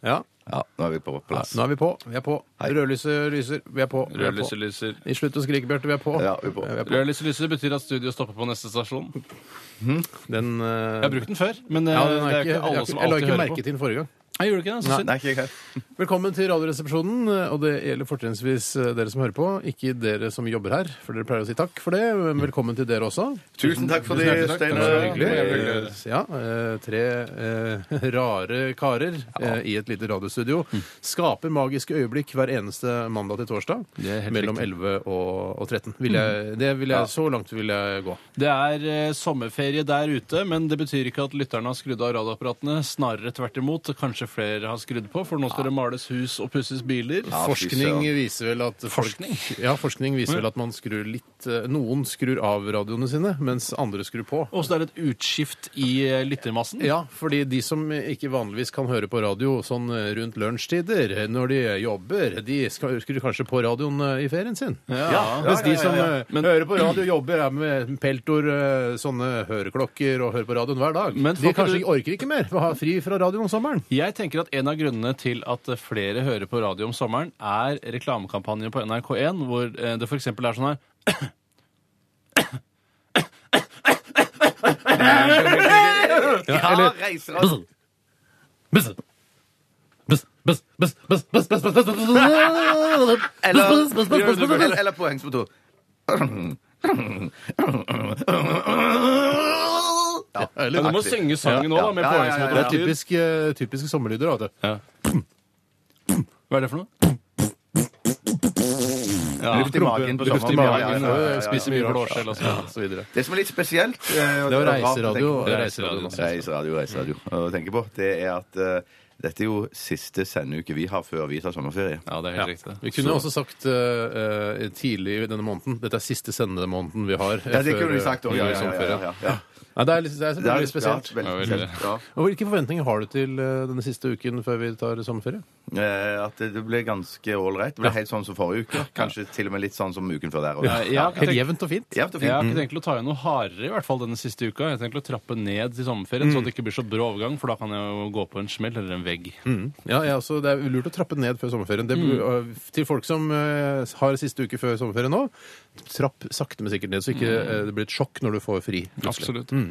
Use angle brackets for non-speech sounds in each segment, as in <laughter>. Ja, Ja, nå er vi på plass. nå er vi på. Vi er på. Rødlyset lyser. Vi er på. Vi er på. Rødlyset lyser. I slutt å skrike, Bjarte. Vi er på. Ja, vi er på. Rødlyset lyser betyr at studio stopper på neste stasjon. Jeg Den, eh, har brukt den før, men eh, ja, den det er er ikke, ikke alle jeg som la alltid ikke hører merke på. til den forrige gang. Jeg gjorde ikke det, så synd. Nei, ikke jeg her. Velkommen til Radioresepsjonen, og det gjelder fortrinnsvis eh, dere som hører på, ikke dere som jobber her, for dere pleier å si takk for det, men velkommen til dere også. Tusen takk for Tusen det, hjertelig takk. Det var Steinar. hyggelig. hyggelig. Eh, Ja, eh, tre eh, <laughs> rare karer eh, i et lite radiostudio skaper magiske øyeblikk hver eneste mandag til torsdag Det er helt mellom riktig. 11 og, og 13. Vil jeg, det vil jeg, Så langt vil jeg gå. Det er eh, sommerferie der ute, men det betyr ikke at lytterne har skrudd av radioapparatene. Snarere tvert imot. Kanskje flere har skrudd på, for nå skal det males hus og pusses biler. fy Forskning søren. viser vel at folk, Ja, forskning viser vel at man skrur litt eh, Noen skrur av radioene sine, mens andre skrur på. Og så er det et utskift i eh, lyttermassen. Ja, fordi de som ikke vanligvis kan høre på radio sånn rundt lunsjtider, eh, når de jobber, de skal- skrur kanskje på radioen eh, i ferien sin. Ja. Mens de som ja, eh, hører på radio, jobber er med peltor, eh, sånne høreklokker og hører på radioen hver dag. Men de får ikke kanskje du- ikke orker ikke mer å ha fri fra radioen om sommeren. Jeg tenker at En av grunnene til at flere hører på radio om sommeren, er reklamekampanjen på NRK1, hvor eh, det f.eks. er sånn her Ja, reiser oss. Eller, eller påhengsmotor. Ja. Men du må aktiv. synge sangen nå, da, med Ja, ja, ja, ja, ja. påhengsmotor. Det er typisk, eh, typiske sommerlyder. Da. vet du. <clears throat> Hva er det for noe? Ja. Luft i magen på Luft i sommeren. Ja, ja, magen, ja, ja, ja, ja. spiser mye blåskjell og så videre. Det som er litt spesielt eh, og Det er jo rart å tenke reiseradio. på- Det er reiseradio, altså. Reiseradio, reiseradio. Å tenke på, det er at eh, dette er jo siste sendeuke vi har før vi tar sommerferie. Ja, det er Ja. helt riktig. Vi kunne også sagt eh, eh, tidlig i denne måneden Dette er siste sendemåneden vi har. eh, Ja, det før, kunne du sagt eh, òg. vi Ja, har ja, ja, sommerferie. ja, ja. Nei, det er, litt- det er Det er- selvfølgelig spesielt. Ja, veldig Ja, veldig. spesielt. Ja. Og Hvilke forventninger har du til eh, denne siste uken før vi tar sommerferie? Eh, At det det ble ganske ålreit. Det ble helt sånn som forrige uke. Kanskje til og med litt sånn som uken før der. og- Jeg har ikke Helt tenkt- jevnt og fint. Jevnt og jeg har fint. ikke tenkt til å ta igjen noe hardere i hvert fall denne siste uka. Jeg har tenkt til å trappe ned til sommerferien, så det ikke blir så brå overgang, for da kan jeg jo gå på en smell eller en vegg. Ja, jeg også, Det er lurt å trappe ned før sommerferien. Det, Mm. øh, Til folk som øh, har siste uke før sommerferien nå, trapp sakte, men sikkert ned, så ikke Mm. øh, det blir et sjokk når du får fri. plutselig. Absolutt. Mm.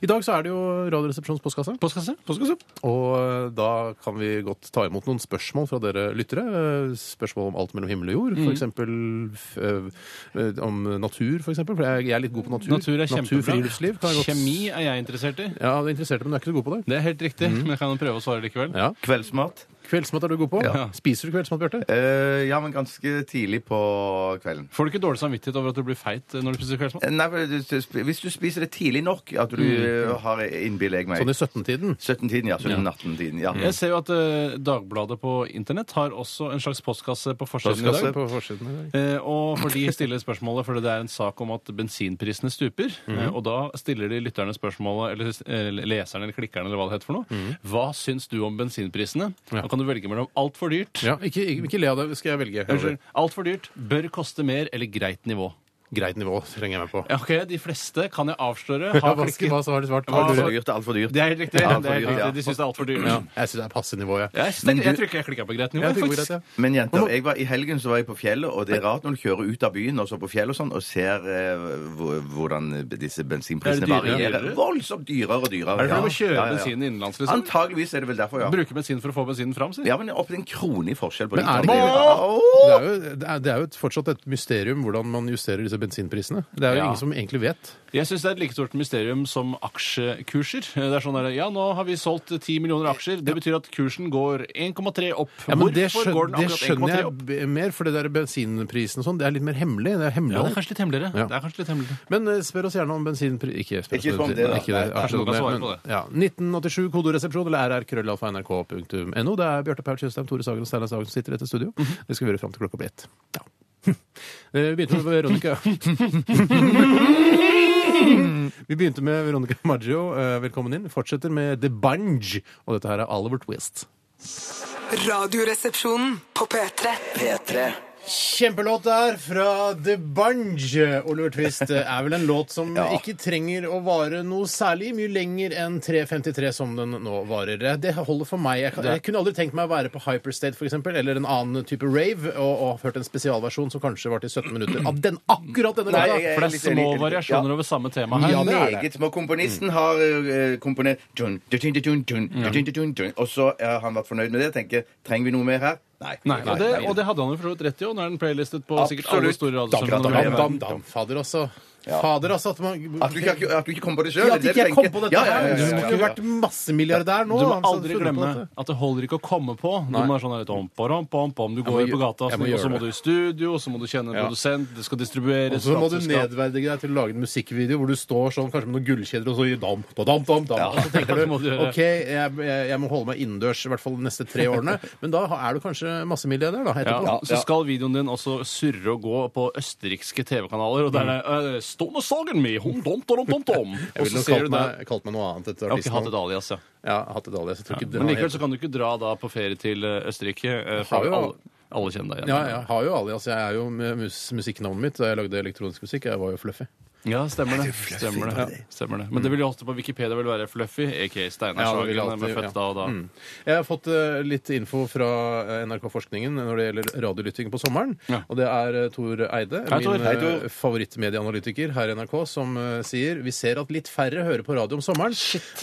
I dag så er det jo Radioresepsjonens postkasse, Postkasse? Postkasse? og øh, da kan vi godt ta imot noen spørsmål fra dere lyttere. Øh, Spørsmål om alt mellom himmel og jord, for eksempel f- øh, øh, om natur, for eksempel. For jeg, jeg er litt god på natur. Natur er kjempebra. friluftsliv. Kan jeg godt... Kjemi er jeg interessert i. Mm. Ja, du er interessert, men du er ikke så god på det. Det er helt riktig, men jeg kan jo prøve å svare likevel. Ja. Kveldsmat. Kveldsmat er du god på. Ja. Spiser du kveldsmat, Bjarte? Eh, ja, men ganske tidlig på kvelden. Får du ikke dårlig samvittighet over at du blir feit eh, når du spiser kveldsmat? Eh, Nei, for du- du- Hvis du spiser det tidlig nok, at du Mm. eh, har innbiller jeg meg Sånn i 17-tiden. 17-tiden, ja. 17-18-tiden, ja. Jeg ser jo at eh, Dagbladet på internett har også en slags postkasse på forsiden i Postkasse. dag. på forsiden i dag. Eh, og for de stiller spørsmålet fordi det er en sak om at bensinprisene stuper. eh, og da stiller de lytterne spørsmålet, eller eh, leserne eller klikkerne eller hva det heter for noe. Hva syns du om bensinprisene? Da kan du velge mellom altfor dyrt Ja, ikke, ikke, ikke le av det. Skal jeg velge? Unnskyld. Altfor dyrt, bør koste mer eller greit nivå. Greit nivå trenger jeg meg på. Ja, Ok, De fleste kan jeg avsløre. Hva, Har hva, klikket. hva, har du svart? Altfor dyrt, altfor dyrt. Det er helt riktig. Ja, det er altfor helt dyrt, riktig. ja. De syns det er altfor dyrt. Ja, jeg syns det er passe nivå, jeg. Jeg, Men jeg du- tror ikke jeg klikka på greit nivå. Jeg tenker greit, faktisk. ja. Men jenter, jeg var, i helgen så var jeg på fjellet, og det er rart når du kjører ut av byen og så på fjellet og sånn, og ser eh, hvor- hvordan disse bensinprisene Er det dyrere? varierer. Voldsomt dyrere og dyrere. Er det fordi ja. du må kjøre Ja, ja, ja. bensinen innenlands? liksom? Antageligvis er det vel derfor, ja. Bruke bensin for å få bensinen fram? sier jeg. Ja, men opp til en krone i forskjell på de Men er det to. ikke- Ja, Det åh! er jo, det er, det er jo et, fortsatt et mysterium hvordan man justerer disse bensinprisene? Det er jo Ja. ingen som egentlig vet. Jeg syns det er et like stort mysterium som aksjekurser. Det er sånn der, Ja, nå har vi solgt 10 millioner aksjer. Det betyr at kursen går 1,3 opp. Ja, men det Hvorfor går skjønner, den det akkurat skjønner 1,3 jeg opp? b- mer, for det der bensinprisen og sånn, det er litt mer hemmelig. Det er Ja, det er hemmelighold. kanskje litt hemmeligere. Ja. Det er kanskje litt hemmeligere. Men eh, spør oss gjerne om bensinpris... Ikke spør Ikke oss spør om det, da. Ikke det. Nei, kanskje noen kan svare men- på det. Ja. 1987, kodoresepsjon eller rrkrøllalfa.nrk.no. Det er Bjarte Paul Tjøstheim, Tore Sagen og Steinar Sagen som sitter i dette studio. Mhm. Det skal vi gjøre fram til klokka blir ett. Ja. <laughs> Eh, Vi <laughs> begynte med Veronica Vi begynte med Veronica Maggio. Eh, Velkommen inn. Fortsetter med The Bunge, og dette her er Oliver Twist. Radioresepsjonen på P3. P3. Kjempelåt der fra The Bunge. Oliver Twist eh, er vel en låt <laughs> som ikke trenger å vare noe særlig mye lenger enn 3.53 som den nå varer. Eh, Det holder for meg. Jeg, kan, jeg kunne aldri tenkt meg å være på Hyperstate for eksempel, eller en annen type rave og, og hørt en spesialversjon som kanskje var til 17 minutter av den akkurat denne Nei, låta. jeg- For det er litt- små litt- variasjoner ja. over samme tema her. Ja, det er det. Meget små. Komponisten har eh, komponert dun, dun, dun, dun, dun, dun, dun, dun, dun. Og så har han vært fornøyd med det. Tenker trenger vi noe mer her? Nei. Nei, og, det, og det hadde han jo for så vidt rett i, og nå er den playlistet på sikkert alle Absolutt. store Dam, dam, radiostasjoner. dam, i Dam, verden. dam, dam. Fader, altså. Fader, altså. At, man, At du, ikke, at du ikke kom på det sjøl? ja, at ikke jeg kom på dette Ja, ja, ja, her. ja, Du ja, må ja. ikke vært massemilliardær nå. Du må han som aldri funnet på glemme dette. at det holder ikke å komme på. Du må være sånn her, om på, om på, om på, om du går gjø- på gata, jeg så må må, gjøre så må du det. i studio, så må du kjenne en Ja. produsent, det skal Og distribueres så må du plateselskap. nedverdige deg til å lage en musikkvideo hvor du står sånn kanskje med noen gullkjeder og så gir dam, da, dam, dam, dam. Og så <laughs> tenker det må du du gjøre. OK, jeg, jeg, jeg må holde meg innendørs i hvert fall de neste tre årene. <laughs> Men da er du kanskje massemilliardær, da. Ja, Etterpå. Så skal videoen din også surre og gå på østerrikske TV-kanaler. Og der er det 'Stående sagen mi! Hom, dom, dom, dom, dom. <laughs> Jeg Og så ville nok ser kalt du der meg, kalt meg noe annet etter Jeg har ikke hatt artisten. et alias, ja. Ja, hatt et alias. Jeg tror ikke det Men var likevel helt- så kan du ikke dra da på ferie til eh, Østerrike. eh, Har For jo- alle, alle kjenner deg igjen. ja, jeg har jo alias. Jeg er jo mus musikknavnet mitt. Da jeg lagde elektronisk musikk, jeg var jo Fluffy. Ja, stemmer det. Stemmer det. Ja, stemmer det. Men det vil jo ofte på Wikipedia vel være Fluffy, aka Steinar Mm. Ja, det vil Sagen, eh, alltid- med født ja. Mm. da og da. Jeg har fått eh, litt info fra eh, NRK-forskningen når det gjelder radiolytting på sommeren. Ja. Og det er eh, Tor Eide, Hei, Tor. min Hei, eh, favorittmedieanalytiker her i NRK, som eh, sier vi ser at litt færre hører på radio om sommeren,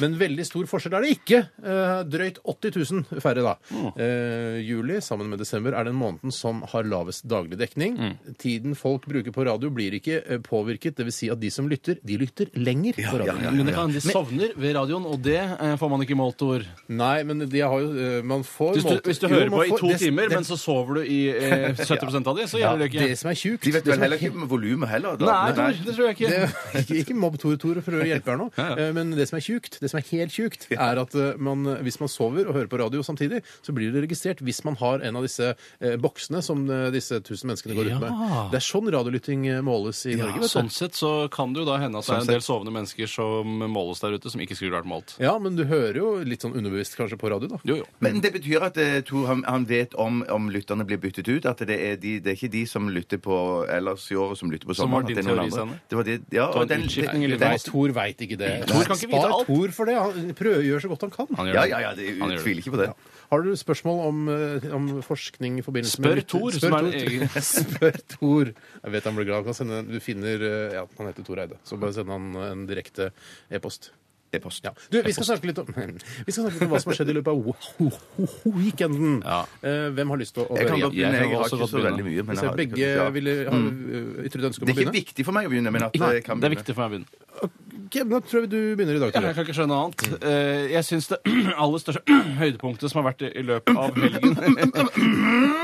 men veldig stor forskjell er det ikke. Eh, Drøyt 80 000 færre, da. Eh, Juli sammen med desember er den måneden som har lavest daglig dekning. Mm. Tiden folk bruker på radio, blir ikke eh, påvirket. Dvs. Si at de som lytter, de lytter lenger på radio. Men det kan, de sovner ved radioen, og det eh, får man ikke målt ord. Nei, men de har jo eh, Man får Hvis du, målt- hvis du Jo, hører man på i får- to det- timer, det- men så sover du i <laughs> eh, 70 av det, så gjelder det ikke. Det som er tjukt De vet det vel som er heller ikke med volumet heller. da. Nei, Tor, det tror jeg ikke. det, <laughs> ikke, ikke mobb Tore Tore for å hjelpe her nå, Eh, men det som er tjukt, det som er helt tjukt, er at eh, man, hvis man sover og hører på radio samtidig, så blir det registrert hvis man har en av disse eh, boksene som eh, disse tusen menneskene går ut med. Ja. Det er sånn radiolytting eh, måles i Norge, vet du. Sånn sett så kan det jo da hende at det er en del sovende mennesker som måles der ute, som ikke skulle vært målt. Ja, men du hører jo litt sånn underbevisst kanskje på radio, da. Jo, jo. Men det betyr at eh, Tor han, han vet om, om lytterne blir byttet ut? At det er, de, det er ikke de som lytter på ellers i året, som lytter på Som var sommeren? at din det er noen teori, andre. Steinar. Det var det, ja, Ta en og den, utskiftning i den- livet. Nei, Tor veit ikke det. Tor kan ikke vite Spar alt. Tor for det. Han prøver, gjør så godt han kan. Han gjør Ja, det. ja, ja, det, Han gjør jeg tviler ikke på det. Har du spørsmål om, eh, om forskning i forbindelse Spør med lytter- Thor, Spør som er Thor. en egen- <laughs> Spør Thor. Jeg vet han blir glad. Han Kan sende, du finner eh, Ja, han heter Thor Eide. Så bare send han eh, en direkte e-post. E-post. Ja. Du, vi skal, snakke litt om, <laughs> vi skal snakke litt om hva som har skjedd i løpet av ho- ho- ho- weekenden. Ja. Eh, Hvem har lyst til å, å Jeg kan høre? godt begynne. Jeg kan Jeg har også ikke godt så begynne. veldig mye. Men Hvis jeg jeg har- begge ja. ville ha, Mm. ytret ønske om Det er å ikke begynne. viktig for meg å begynne, men at jeg kan Det er begynne. viktig for meg å begynne. Ok, men da tror jeg du begynner i dag, Ja, jeg Tore. kan ikke skjønne annet. Eh, Jeg syns det <clears throat> aller største høydepunktet som har vært i- i løpet av helgen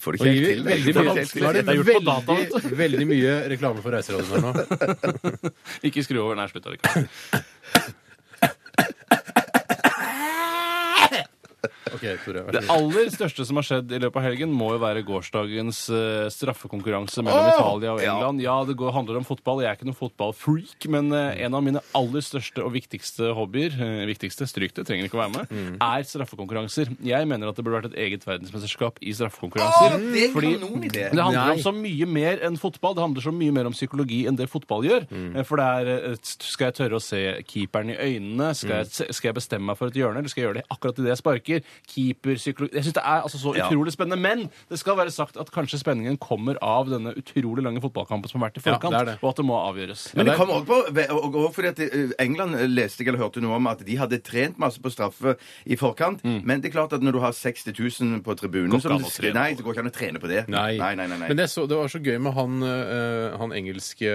Jeg får det ikke helt til. Jeg veldig får det mye- ikke helt til. Nå er det Dette er gjort på data, vet veldig, veldig mye reklame for reiseradioen her nå. <laughs> Ikke skru over. Nei, slutt. Erik. Ok, Tore, vær så Det god. aller største som har skjedd i løpet av helgen, må jo være gårsdagens eh, straffekonkurranse mellom Italia og England. Ja, det går, handler om fotball. Jeg er ikke noen fotballfreak, men eh, en av mine aller største og viktigste hobbyer eh, viktigste, Stryk det, trenger ikke å være med. er straffekonkurranser. Jeg mener at det burde vært et eget verdensmesterskap i straffekonkurranser. Det er kanonidé. Men Det handler Nei. om så mye mer enn fotball. Det handler så mye mer om psykologi enn det fotball gjør. Mm. Eh, For det er eh, Mm. Skal jeg tørre å se keeperen i øynene? Skal, jeg, skal jeg bestemme meg for et hjørne, eller skal jeg gjøre det akkurat idet jeg sparker? keeperpsykologi Jeg syns det er altså så Ja. utrolig spennende. Men det skal være sagt at kanskje spenningen kommer av denne utrolig lange fotballkampen som har vært i Ja, forkant, det er det. og at det må avgjøres. Men det Ja, det er- kommer også på og- og fordi at eh, England leste jeg eller hørte noe om at de hadde trent masse på straffe i forkant. Men det er klart at når du har 60 000 på tribunen Går som ikke an å trene Nei, på det går ikke an å trene på det. Nei. nei, nei, nei, nei. Men jeg så, det var så gøy med han, eh, han engelske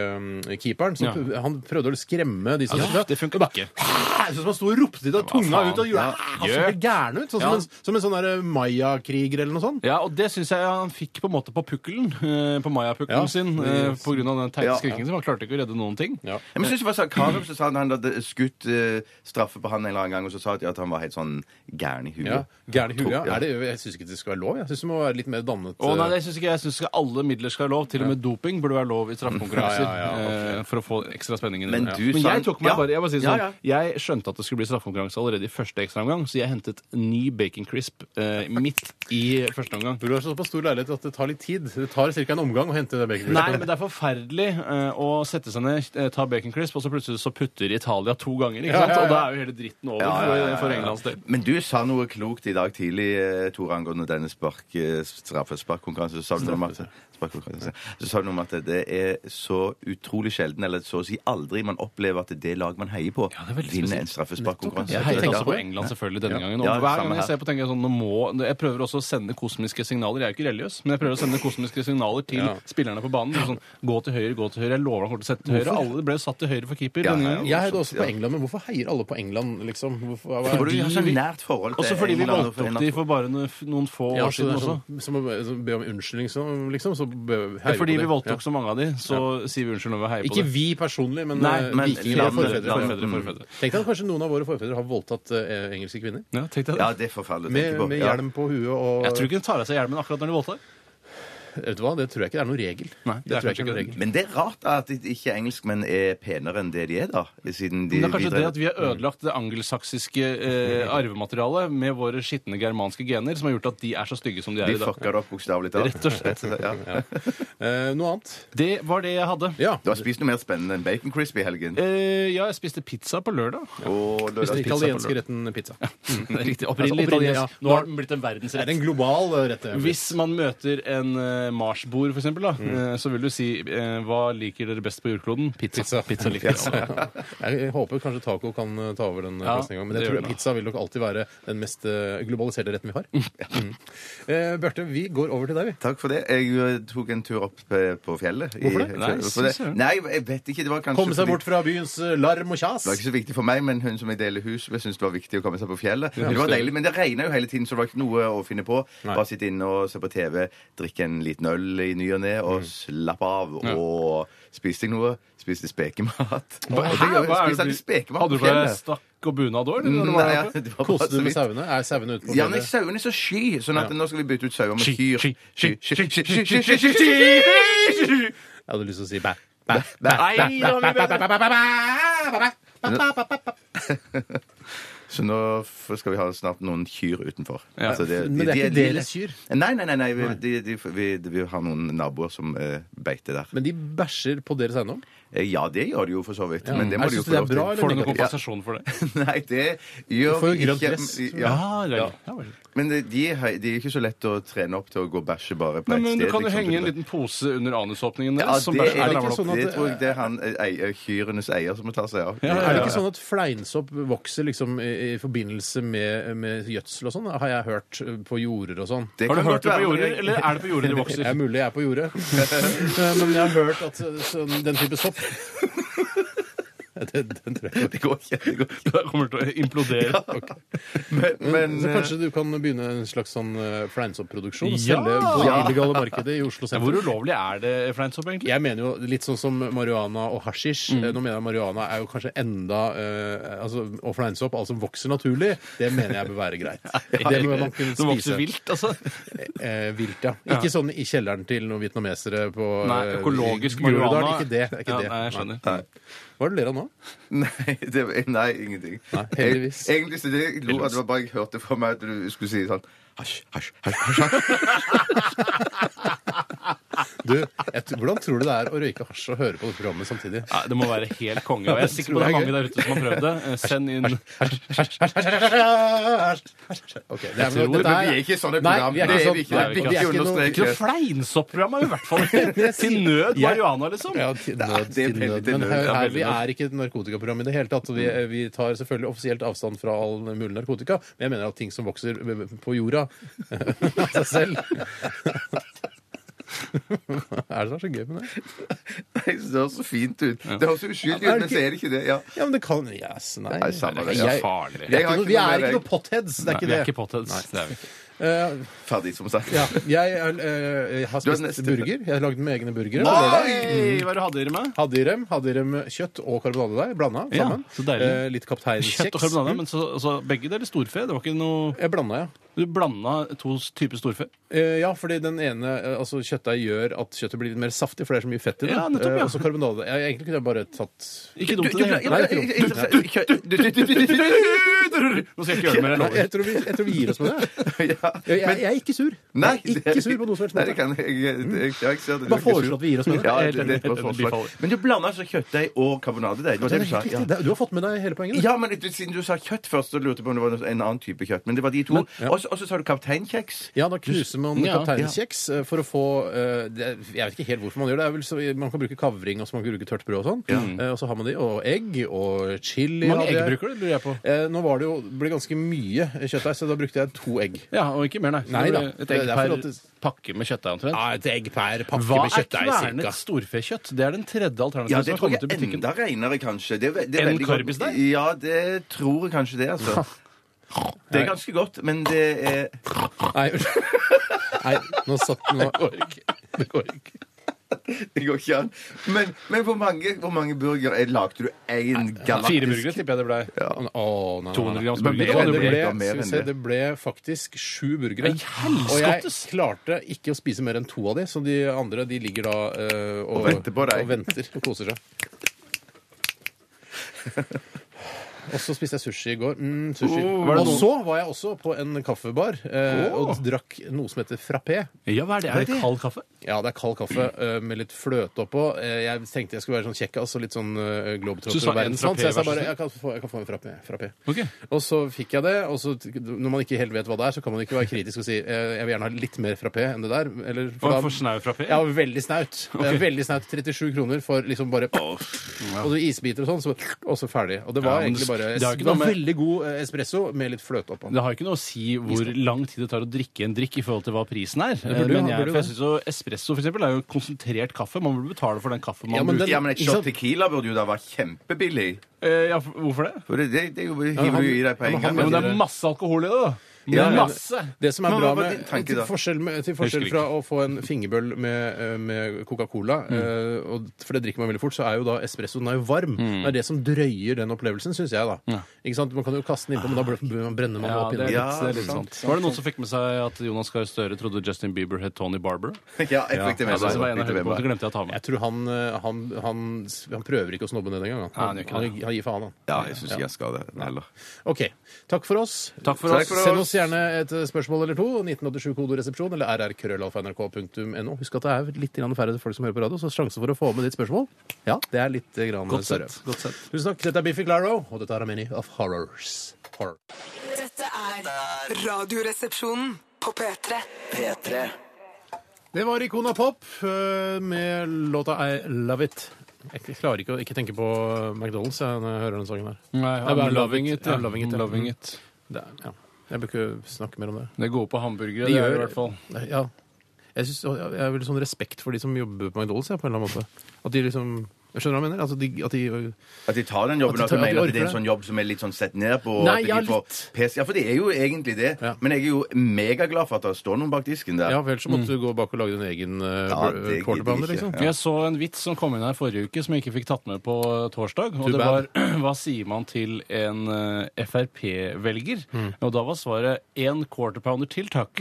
eh, keeperen. Som, Ja. Han prøvde å skremme de som Ja, det funker ikke. Hæ? Sånn som han sto og ropte til deg, tunga faen? ut og gjorde Ja. Han så helt gæren ut. Sånn Ja. som, en, som en sånn der, eh, mayakriger eller noe sånt. Ja, og det syns jeg han fikk på en måte på pukkelen, eh, på Ja. mayapukkelen sin, eh, på grunn av den teite Ja. skrikingen sin. Han klarte ikke å redde noen ting. Ja. Ja, Men jeg synes det var Sakharov som sa at han hadde skutt eh, straffe på han en eller annen gang, og så sa de at han var helt sånn gæren i huet. Ja, Gæren i huet. Ja. ja. Er det- Jeg syns ikke det skal være lov. Jeg syns det må være litt mer dannet. Å nei, eh, det synes ikke jeg. Jeg synes ikke alle midler skal være lov. Til og med doping burde være lov i straffekonkurranser. Ja, ja, ja, ok. eh, For å få ekstra spenning inn i Men det. du Men sa jeg en- tok meg Ja. bare, jeg bare sier sånn, Ja, jeg skjønte at det skulle bli straffekonkurranse allerede i første ekstraomgang, så jeg hentet ny bacon crisp eh, midt i første omgang. Du har såpass stor leilighet at det tar litt tid. Det tar ca. en omgang å hente det baconbrødet. Nei, men det er forferdelig eh, å sette seg ned, eh, ta bacon crisp, og så plutselig så putter Italia to ganger. ikke Ja, sant? ja, ja. Og da er jo hele dritten over for- for Englands del. Men du sa noe klokt i dag tidlig, eh, Tore, angående denne spark, eh, straffesparkkonkurransen. Så sa du noe om at- sparkkonkurranse. Så sa du noe om at det er så utrolig sjelden, eller så å si aldri, man opplever at det lag man heier på, det er veldig vinner en Nettopp, straffesparkkonkurranse. Jeg heier Ja. også på England selvfølgelig denne gangen. Og Ja, hver samme gang jeg her. ser på, tenker jeg sånn nå må, Jeg prøver også å sende kosmiske signaler. Jeg er jo ikke religiøs, men jeg prøver å sende kosmiske signaler til Ja. spillerne på banen. Sånn, gå til høyre, gå til høyre. Jeg lover han kommer til å sette til høyre. Alle ble satt til høyre for keeper. Ja, denne ja, gangen. Jeg heide også på Ja. England, men hvorfor heier alle på England, liksom? Hvorfor, hva- Fordi du har så vi- nært forhold til Også fordi vi England og for voldtok de en- for bare noen noen få Ja, år så det siden er også. sånn- Som å be- som å be om unnskyldning, så, liksom. Så be, heier Det er fordi på vi det. Ja. voldtok så mange av de, så sier vi unnskyld når vi heier på Ikke det. vi personlig, men, Nei, eh, men vikinger landet- og forfedre. landet- forfedre. forfedre. Mm. Tenk deg at kanskje noen av våre forfedre har voldtatt eh, engelske kvinner. Ja, tenk deg det. Ja, det er forferdelig å tenke Med, på. med Ja. hjelm på huet og Jeg tror ikke de tar av seg hjelmen akkurat når de voldtar. Vet du hva, det tror jeg ikke det er noen regel. Nei, tror jeg det er kanskje ikke er noen ikke regel. Men det er rart at ikke engelskmenn er penere enn det de er, da. Siden de Men det er kanskje de- det at vi har ødelagt det angelsaksiske eh, arvematerialet med våre skitne germanske gener, som har gjort at de er så stygge som de er De i dag. fucka det opp, bokstavelig talt. Rett og slett. Ja. Eh, noe annet? Det var det jeg hadde. Ja. Du har spist noe mer spennende enn bacon crispy i helgen. Eh, ja, jeg spiste pizza <laughs> på lørdag. Og Hvis den lørdags- italienske retten pizza. <laughs> Det er Opprinnelig riktig. Altså, Opprinnelig italiensk. italiensk. Nå har den blitt Det en er verdensrett. en global eh, rett. det. Hvis man møter en uh, marsboer, for eksempel, da, Mm. eh, så vil du si eh, Hva liker dere best på jordkloden? Pizza. Pizza. liker <laughs> jeg. Jeg håper kanskje taco kan eh, ta over den eh, Ja, plassen en gang. Men det jeg gjør tror det. pizza vil nok alltid være den mest eh, globaliserte retten <laughs> vi har. Mm. Eh, Bjarte, vi går over til deg, vi. Takk for det. Jeg eh, tok en tur opp eh, på fjellet. i- Hvorfor det? Nei, for det. så søren. Nei, jeg vet ikke. Det var kanskje Komme seg fordi- bort fra byens eh, larm og kjas. Det var ikke så viktig for meg, men hun som jeg deler hus med, syntes det var viktig å komme seg på fjellet. det var det. deilig, Men det regna jo hele tiden, så det var ikke noe å finne på. Nei. Bare sitte inne og se på TV, drikke en liten øl i ny og ne, og slappe av. Og spiste jeg noe? Spiste spekemat. Og det Hæ? gjør jeg. Spiste Hva er det du- alltid spekemat på Hadde du bare fjellet. Mm, stakk og bunad òg, eller? når du Nei, var der ja, oppe? <laughs> det var bare Koste så du med vidt. sauene? Er sauene ute på Ja, men fjellet? sauene er så sky, sånn at nå skal vi bytte ut sauer med Sky, kyr. sky, sky, Sky, sky, sky, sky, sky, sky, sky, sky, sky. Jeg hadde lyst til å si bæ. Bæ. Nei, det var mye bedre. Så nå f- skal vi ha snart noen kyr utenfor. Ja. Så Men det er ikke de- deres kyr? Nei, nei, nei. nei vi, de, de, vi, vi har noen naboer som eh, beiter der. Men de bæsjer på deres eiendom? Eh, ja, det gjør de jo for så vidt. Men det må Jeg de jo få synes det er lov bra, til. eller? Får du noen kompensasjon for det? <laughs> Nei, det gjør Du får jo grønt ikke- dress. Ja. Ah, ja, ja. vel. Men de, de er de er ikke så lett å trene opp til å gå og bæsje bare på Nei, ett men sted. du kan jo liksom. henge en liten pose under anusåpningen ja, deres. som det, er bæsjen ramler det, ikke opp. sånn at, det det- tror jeg det er han, eh, eier- kyrenes eier som må ta seg av. Ja, ja, Er det ikke sånn at fleinsopp vokser liksom i, i forbindelse med, med gjødsel og sånn? Har jeg hørt eh, på jorder og sånn. Det Har du kan hørt godt det på være, men jorder, jeg- eller er det på jorder de vokser? Det er mulig jeg er på jordet. Eh, Men jeg har hørt at eh, sånn- den type sopp den, den tror jeg ikke. <laughs> Det går ikke. Det går ikke. <laughs> Det kommer til å implodere. Men, men Så eh, kanskje du kan begynne en slags sånn eh, fleinsoppproduksjon? og Ja! Selge på det illegale markedet i Oslo Ja, Hvor sentrum? ulovlig er det fleinsopp, egentlig? Jeg mener jo litt sånn som marihuana og hasjisj. Mm. Eh, Nå mener jeg marihuana er jo kanskje enda eh, altså, Og fleinsopp, alt som vokser naturlig, det mener jeg bør være <laughs> greit. Det bør man kunne Som spise. vokser vilt, altså? Eh, vilt, ja. Ikke sånn i kjelleren til noen vietnamesere på Nei, eh, i økologisk Groruddalen. marihuana. Ikke det. det, er ikke Ja, det. nei, jeg skjønner. Nei. Hva er det du ler av nå? eh, <laughs> Nei, det, nei ingenting. Nei, heldigvis. Jeg, egentlig så det jeg lo at det var bare jeg hørte fra meg at du skulle si sånn Hasj, hasj, hasj. hasj, hasj. Du, jeg, t- hvordan tror du det er å røyke hasj og høre på det programmet samtidig? Nei, det må være helt konge. <laughs> Og jeg er det sikker tror på det er jeg er mange der ute som har prøvd det. Eh, Send inn Ok, det er, tror- dette Men vi er ikke sånne Nei, program. vi er Det ikke er sånn. vi ikke. Nei, Det er vi vi ikke. er ikke noe- Understrek. Ikke noe fleinsoppprogram er vi i <laughs> hvert fall ikke. Til nød Jeg- marihuana, liksom. Ja, til er- nød, det er til veldig til nød. Men nød. her, Det er her, veldig vi nød. Mm. er ikke et narkotikaprogram i det hele tatt. og Vi, vi tar selvfølgelig offisielt avstand fra all mulig narkotika, men jeg mener at ting som vokser på jorda <laughs> av seg selv <laughs> Hva er det som er så gøy med det? <laughs> Det høres så fint ut. Det høres så uskyldig ut, men så er det ikke det. Ja. Ja, men det kan Yes, nei. Nei, samme det. Det er Ja. ikke Vi farlig. er ikke har noe, vi noe er mer, ikke jeg. noe potheads. Det er Nei, ikke vi det. er ikke potheads. Det er vi ikke. Eh, Ferdig, som sagt. ja, jeg, er, eh, jeg har Du er spist neste. burger. Jeg har lagd mine egne burgere. på lørdag. Oi! Hva er det du hadde i det med? Hadde i dem, hadde i dem kjøtt og karbonadedeig blanda Ja, sammen. så deilig. Eh, litt kapteinkjeks. Kjøtt og karbonade, Mm. men så, så begge deler storfe. Det var ikke noe Jeg blanda, ja. Du blanda to typer storfe. Eh, ja, fordi den ene, eh, altså kjøttdeig gjør at kjøttet blir litt mer saftig, for det er så mye fett i det. Ja, nettopp, ja. Eh, og så karbonadedeig. Ja, egentlig kunne jeg bare tatt Ikke dumt Du- du- i <laughs> det hele ja, ikke tatt. dumt. jeg- jeg- jeg- Nå skal jeg ikke gjøre det mer, jeg Nei, lover. jeg tror, vi, jeg tror vi gir oss med <laughs> det. Ja. Jeg, jeg, jeg er ikke sur. Nei, jeg er ikke sur på noe som helst. Nei, det kan jeg, jeg, jeg, jeg ser det. Bare Du er ikke sur. foreslå at vi gir oss med det. Ja, Jeg er det, helt det, er enig. et godt Jeg forslag. bifaller. Men du blander altså kjøttdeig og karbonadedeig. Det var Det det du er sa. helt Ja. riktig. Det- Du har fått med deg hele poenget. du. Ja, men du- siden du sa kjøtt først, så lurte jeg på om det var noe- en annen type kjøtt. Men det var de to. Og så- og så sa du kapteinkjeks. Ja, da knuser man Ja, kapteinskjeks eh, for å få eh, det, Jeg vet ikke helt hvorfor man gjør det. det er vel så, man kan bruke kavring og så man kan bruke tørt brød og sånn. Eh, og så har man de, og egg og chili. Hvor mange hadde egg jeg. bruker du, lurer jeg på? Eh, nå var det jo, ble ganske mye kjøttdeig, så da brukte jeg to egg. Ja, og ikke mer, nei. Så Nei det da. blir Et Det er egg derfor per at det- pakke med kjøttdeig, omtrent. Ja, et egg per pakke Hva er kvernet storfekjøtt? Det er den tredje alternativet Ja, som det tror har kommet i jeg butikken. enda renere, kanskje. Det, er ve- det er Enn veldig godt. karbisdeig? Ja, det tror jeg kanskje det, altså. Det er ganske godt, men det er <laughs> Nei, <laughs> Nei, nå satt den nå. Det går ikke. Det går ikke an. Men, men hvor mange, hvor mange burger er, lagde du én Fire galaktisk burgere tipper jeg det blei. Å, nei, nei, nei, nei. 200 grams Men burger. mer enn Det Det ble- ble, Ja, mer skal vi enn se, det. det ble faktisk sju burgere. Ei, helskottes! Og jeg klarte ikke å spise mer enn to av de, så de andre de ligger da eh, og, venter på deg. og venter og koser seg. Og så spiste jeg sushi i går. Mm, sushi. var det og noen- så var jeg også på en kaffebar eh, Oh. og drakk noe som heter frappé. Ja, hva er det? Er det kald kaffe? Ja, det er kald <clears throat> kaffe eh, med litt fløte oppå. Eh, Jeg tenkte jeg skulle være sånn kjekk, altså litt sånn eh, Så du globetrotter og sa en verdensmann. frappé, Så jeg sa vær så bare snill? jeg kan få, jeg kan få en frappé. frappé. Ok. Og så fikk jeg det. Og så, t- når man ikke helt vet hva det er, så kan man ikke være kritisk og si eh, jeg vil gjerne ha litt mer frappé enn det der. Eller, Var det for snau frappé? Ja, veldig <laughs> snaut. Eh, Veldig snaut. 37 kroner for liksom bare Og så isbiter og sånn, så, og så ferdig. Og det Ja, var men egentlig bare det er jo ikke det var noe med- veldig god eh, espresso med litt fløte oppå. Det har ikke noe å si hvor lang tid det tar å drikke en drikk i forhold til hva prisen er. burde jo- Men jeg, burde jo for jeg det. synes jo Espresso for eksempel, er jo konsentrert kaffe. Man burde betale for den kaffen man Ja, men bruker. den- Ja, men et Ikke shot sant? tequila burde jo da være kjempebillig. Eh, ja, for- hvorfor det? For det, det, det er jo- men hiver han- du i deg på ja, en men gang. han- Ja, men det Men er masse alkohol i det, da. Ja, men- masse. Det som er Men bra hva- hva med, din tanke til da? forskjell, med, til forskjell Husker fra å få en fingerbøl med, eh, med Coca-Cola, Mm. eh, og- for det drikker man veldig fort, så er jo da espressoen den er jo varm. Mm. Det er det som drøyer den opplevelsen, syns jeg. da. Ikke sant? Man kan jo kaste den innpå, men da bl- brenner man Ja, opp det inni er den. litt, Ja, det er litt sant, sant. Var det noen som fikk med seg at Jonas Gahr Støre trodde Justin Bieber het Tony Barber? Ja, jeg fikk det Ja, med det var en av meg. høydepunktene, glemte jeg å ta med. Jeg tror han, eh, han, han, han prøver ikke å snobbe ned engang. Han, Nei, han gjør ikke han, han gir faen, han. Ja, jeg syns ikke jeg skal det heller. OK. Takk for oss. Takk for Takk oss. for oss. Send oss gjerne et eh, spørsmål eller to. 1987-kodoresepsjon eller rrkrøllalfa.nrk.no. Husk at det er litt grann færre folk som hører på radio, så sjansen for å få med ditt spørsmål Ja, det er litt grann Godt større. sett, godt sett. Tusen takk. Dette er Biffy Claro, og dette er Many of Horrors. Horror. Dette er Radioresepsjonen på P3. P3 Det var Icona Pop eh, med låta I Love It. Jeg klarer ikke å ikke tenke på McDonald's jeg, når jeg hører den sangen her. Nei, Det er bare loving it, ja. I'm loving it, ja. Loving Det er, ja. Jeg bør ikke snakke mer om det. Det går på hamburgere, De det er det gjør- i hvert fall. Nei, Ja. Jeg, synes, og jeg har veldig sånn respekt for de som jobber på McDonald's. Ja, på en eller annen måte. At de liksom jeg Skjønner du hva jeg mener? Altså, de, at de, At de tar den jobben, At de at du tar- mener at at de det er en orker det. sånn jobb som er litt sånn sett ned på? Nei, at de ja, får litt. pes- Ja, for det er jo egentlig det. Ja. Men jeg er jo megaglad for at det står noen bak disken der. ja vel, så måtte du gå bak og lage din egen Mm. uh, Ja, det gidder quarterbounder, ikke. liksom. Ja. Jeg så en vits som kom inn her forrige uke, som jeg ikke fikk tatt med på eh, torsdag. Og Too det var <clears throat> bad. hva sier man til en eh, Frp-velger? Og da var svaret én quarter pounder til, takk.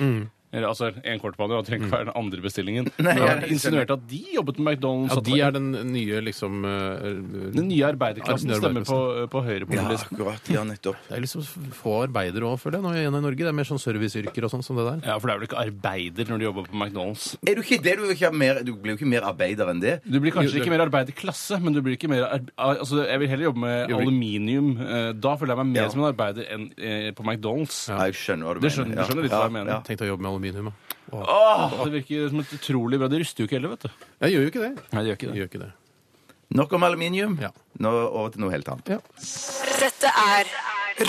Eller, altså, en quarterpanne det trenger ikke være den andre bestillingen. <laughs> Nei, Men han jeg skjønner. insinuerte at de jobbet med McDonald's. Ja, at de er den nye liksom eh, den nye arbeiderklassen Ja, den nye stemmer på, eh, på høyre på Ja, listen. akkurat. Ja, nettopp. Det er liksom få arbeidere òg, føler jeg, nå igjen i Norge. Det er mer sånn serviceyrker og sånn som det der. Ja, for det er vel ikke arbeider når du jobber på McDonald's. Er du ikke det? Du, er ikke mer, du blir jo ikke mer arbeider enn det. Du blir Jo, kanskje det- ikke mer arbeiderklasse, men du blir ikke mer ar- al- altså, Jeg vil heller jobbe med Jo, vi- aluminium. Eh, Da føler jeg meg mer Ja. som en arbeider enn eh, på McDonald's. Ja, jeg skjønner hva du mener. Det skjønner, Ja. du skjønner litt hva jeg mener. Ja. Tenk deg å jobbe med aluminium. da. Åh, det virker som et utrolig bra. Det ruster jo ikke heller, vet du. Jeg gjør jo ikke det. Nei, det gjør ikke Jeg gjør ikke det. Nok om aluminium. Ja. Nå over til noe helt annet. Ja. Dette er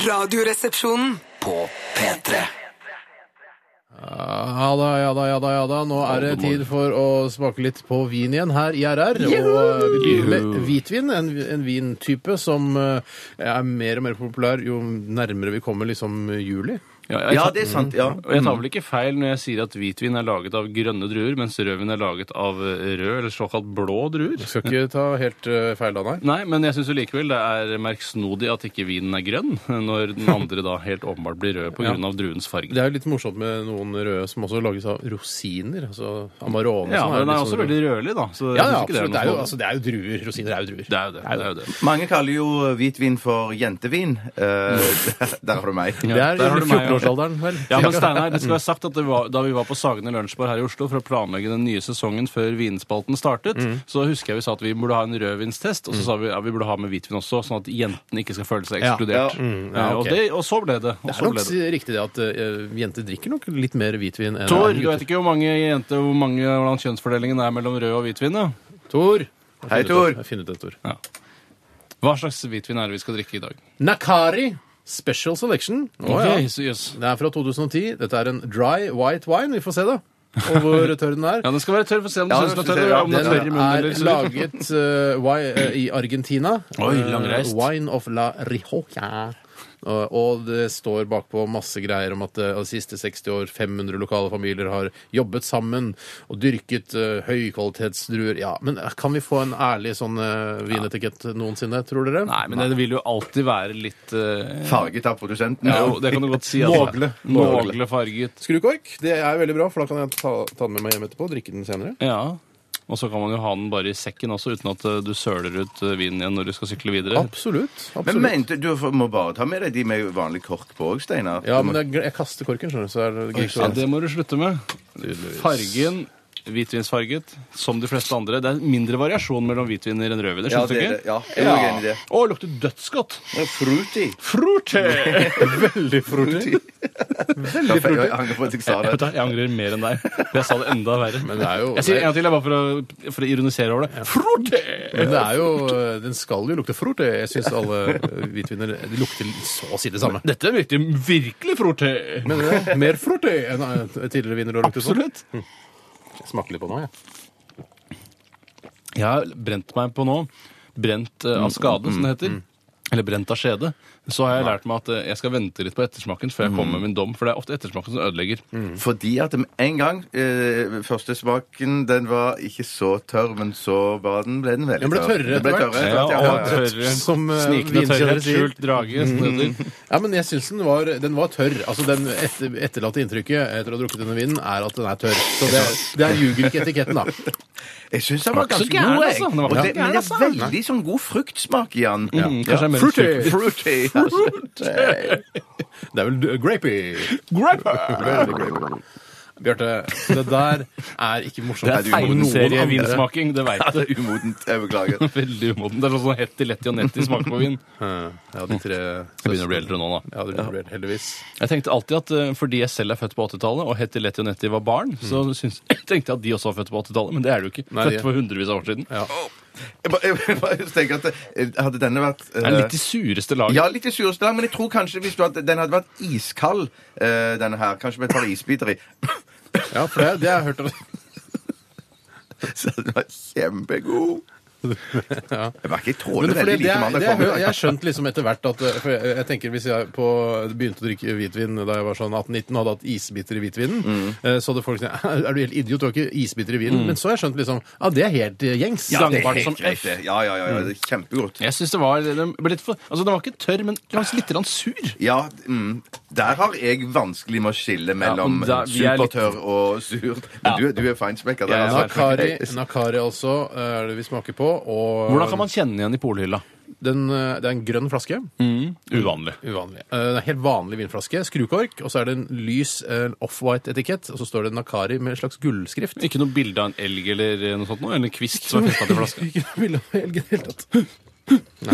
Radioresepsjonen. På P3. ja da, ja da, ja da. ja da. Nå er det tid for å smake litt på vin igjen her i RR. Og eh, vi begynner med hvitvin, en, en vintype som eh, er mer og mer populær jo nærmere vi kommer liksom juli. Ja, jeg, Ja, tar- det er sant. Ja. Mm. og jeg tar vel ikke feil når jeg sier at hvitvin er laget av grønne druer, mens rødvin er laget av eh, rød eller såkalt blå druer. Skal ikke ta helt eh, feil da, nei. Nei, men jeg syns likevel det er merksnodig at ikke vinen er grønn, <laughs> når den andre da helt åpenbart blir rød pga. av druens farge. Det er jo litt morsomt med noen røde som også lages av rosiner. altså Amarone. Ja, som men den litt er liksom sånn også rød. veldig rødlig, da. Så jeg Ja, ja, synes ikke absolutt. Det er, jo, noe sånn- altså, det er jo druer. Rosiner er jo druer. Det er jo det. det, er jo det. Mange kaller jo hvitvin for jentevin. Eh, <laughs> der, der har du meg. Det er der har du meg, ja. 14-årsalderen, vel? Ja, men Steinar, det skal være sagt at det var, Da vi var på Sagene lunsjbar her i Oslo for å planlegge den nye sesongen før vinspalten startet, så husker jeg vi sa at vi burde ha en rødvinstest, og så sa vi at vi burde ha med hvitvin også, sånn at jentene ikke skal føle seg Ja. ekskludert. Ja. ja, Eh, og, ok. det, og så ble det. Og Det så er ble nok det. riktig det at eh, jenter drikker nok litt mer hvitvin enn Tor, du gutter. vet ikke hvor mange jenter, hvor mange, hvordan kjønnsfordelingen er mellom rød og hvitvin? da? Tor! Jeg Hei, finner ut Tor. av- Jeg finner ut et ord. Hva slags hvitvin er det vi skal drikke i dag? Nakari Special Selection. Å, ja. Ok, så jøss. Det er fra 2010. Dette er en dry white wine. Vi får se, da. Og hvor tørr den er. <laughs> Ja, Den skal være tørr, for å se om du Ja, synes den er ja, tørr. eller om den er tørr i Den munnen. er Eller, laget <laughs> eh, wi- eh, i Argentina. Oi, Eh, langreist. wine of la Rioja. Eh, og det står bakpå masse greier om at eh, de siste 60 år 500 lokale familier har jobbet sammen og dyrket eh, høykvalitetsdruer. Ja, men eh, kan vi få en ærlig sånn eh, vinetikett noensinne, tror dere? Nei, men det vil jo alltid være litt eh, Farget av produsenten. Ja, jo, det kan du godt si. altså. Mågle. Mågle farget. Skrukork. Det er veldig bra, for da kan jeg ta, ta den med meg hjem etterpå og drikke den senere. Ja. Og så kan man jo ha den bare i sekken også, uten at eh, du søler ut eh, vinen igjen når du skal sykle videre. Absolutt. Men absolutt. mente, du må bare ta med deg de med vanlig kork på òg, Steinar. ja, men jeg, jeg kaster korken, skjønner du. Så er det greit Ja, å- det må du slutte med. Fargen hvitvinsfarget, som de fleste andre. Det er mindre variasjon mellom hvitviner enn rødviner, Ja, syns du det, ikke? ja, jeg er nok enig i det. Å, lukter dødsgodt! Ja, Fruity. <laughs> Frorte! Veldig fruity. Veldig Jeg fruity. angrer på at jeg sa det. <laughs> Jeg, vet du hva, jeg angrer mer enn deg. for Jeg sa det enda verre. Men det er jo, Jeg sier en gang til, jeg, bare for å, for å ironisere over det. Frorte! Men det er jo, den skal jo lukte frort. Jeg syns alle hvitviner de lukter så å si det samme. Dette virker virkelig frorte! Men det er mer frort enn eh, tidligere viner. har luktet sånn. Absolutt. Jeg smaker litt på nå, jeg. Jeg har brent meg på nå. Brent eh, av skade, som det heter. Eller brent av skjede. Så har jeg lært meg at eh, jeg skal vente litt på ettersmaken før jeg kommer med min dom. For det er ofte ettersmaken som ødelegger. Fordi at med en gang eh, Første smaken den var ikke så tørr, men så var den, ble den veldig Den ble tørr. tørrere ble etter hvert. tørrere etter hvert, ja, Ja, og ja, ja. tørre. Som, eh, Snikende vinkjellere tørrhet, Mm. sier. skjult drage. som det heter. Ja, men jeg syns den var, den var tørr. Altså, Den etter, etterlatte inntrykket etter å ha drukket denne vinen er at den er tørr. Så det, det er ljuger ikke etiketten, da. Jeg syns den var ikke så ganske gæren, god, jeg. altså. Den var Og ikke det, så men det gæren, er veldig sånn god fruktsmak i den. Mm, kanskje det er mer Fruity. <laughs> Fruity. altså. Det er vel grapey. Veldig grapey. Bjarte, <laughs> det der er ikke morsomt. Det du er må feil noen serie andre. vinsmaking, det veit Det du. <laughs> er umodent. Jeg beklager. Veldig umoden. Det er sånn Hetti, Letti og Netti smaker på <laughs> vin. Jeg Ja, de tre begynner å bli eldre nå, da. Ja, det blir heldigvis. Jeg tenkte alltid at eh, fordi jeg selv er født på 80-tallet, og Hetti, Letti og Netti var barn, så syns, <laughs> tenkte jeg at de også var født på 80-tallet. Men det Mm. er du ikke. Nei, de- Født for hundrevis av år siden. Ja. Jeg bare- jeg bare tenker at eh, Hadde denne vært Det er eh, litt i sureste laget. Ja, litt i sureste men jeg tror kanskje hvis du hadde, den hadde vært iskald, eh, denne her, kanskje med et par isbiter i, <laughs> Ja, for det, det har jeg hørt. om. så hadde den vært kjempegod. Jeg var ikke Men tåle fordi veldig det lite er, mandag det er, formiddag. jeg har skjønt liksom etter hvert at eh, for jeg, jeg tenker Hvis jeg på, begynte å drikke hvitvin da jeg var sånn 18-19 og hadde hatt isbiter i hvitvinen, eh, så hadde folk sagt er du helt idiot, du har ikke isbiter i vinen. Men så har jeg skjønt liksom ja, det er helt eh, gjengs. Ja, Det er Bare helt <laughs> som greit, F. det. Ja, ja, ja, ja, det er kjempegodt. Jeg synes det var, den ble litt for, altså den var ikke tørr, men den var litt grann sur. Ja, mm, Der har jeg vanskelig med å skille mellom men da- vi er litt- supertørr og surt. Men du, du er feinspekka der. Ja, ja, altså. Nakari, nakari altså er det vi smaker på. Og Hvordan kan man kjenne igjen i polhylla? den, eh, det er en grønn flaske. Uvanlig. Uvanlig. Eh, Det er en helt vanlig vinflaske. Skrukork, og så er det en lys eh, en off-white-etikett. Og så står det Nakari med en slags gullskrift. Ikke noe bilde av en elg eller eh, noe sånt? Noe, eller en kvist som er festet til <laughs> flaska? Ikke noe bilde av elgen i det hele tatt.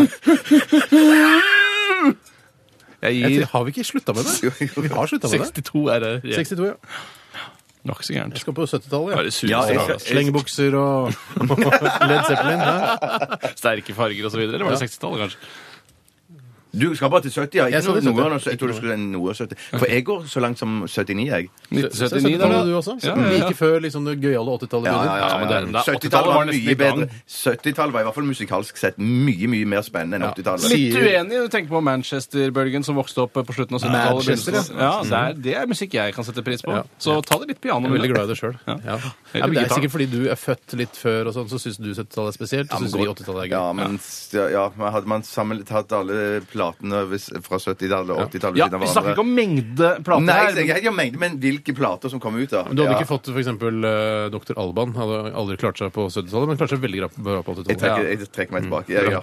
Jeg Jeg gir tror- Har vi ikke slutta med det? Vi har slutta med det. 62 er det. Ja. 62, ja. Det var ikke så gærent. Jeg skal på 70-tallet. Bare Ja. sure Ja, jeg saker. skal- Slengebukser og Led Zeppelin. Ja. Sterke farger osv. Eller var det 60-tallet, kanskje? Du skal bare til 70, ja. Ikke Jeg skal noe, til 70. noe, jeg tror du skulle noe 70. For jeg går så langt som 79, jeg. 1979, da. du også. Ja, ja, ja. Like før liksom, det gøyale 80-tallet Ja, begynner. ja, ja, men det er- det er- 70-tallet var var nesten mye i gang. bedre. 70-tallet var i hvert fall musikalsk sett mye mye mer spennende enn 80-tallet. Litt Sier- uenig. Du tenker på Manchester-bølgen som vokste opp på slutten av 70-tallet. Manchester, Mm. begynnelsen- ja. så det, er, det er musikk jeg kan sette pris på. Ja. Så ta det litt piano. Jeg er veldig Mille. glad i det sjøl. Ja. Ja. men det er sikkert fordi du er født litt før, og sånn, så syns du 70-tallet er spesielt. Og syns vi 80-tallet er gøy. Ja, men s- ja, ja, men hadde man sammen tatt alle platene hvis- fra 70-tallet og 80-tallet Ja, vi snakker ikke om mengde plater Nei, her. jeg, jeg, jeg mener, men hvilke plater som kom ut, da? Men Du hadde Ja. ikke fått f.eks. Uh, Dr. Alban. Hadde aldri klart seg på 70-tallet, men klarte seg veldig bra på jeg 80-tallet. trekker, jeg trekker meg tilbake. Ja, ja.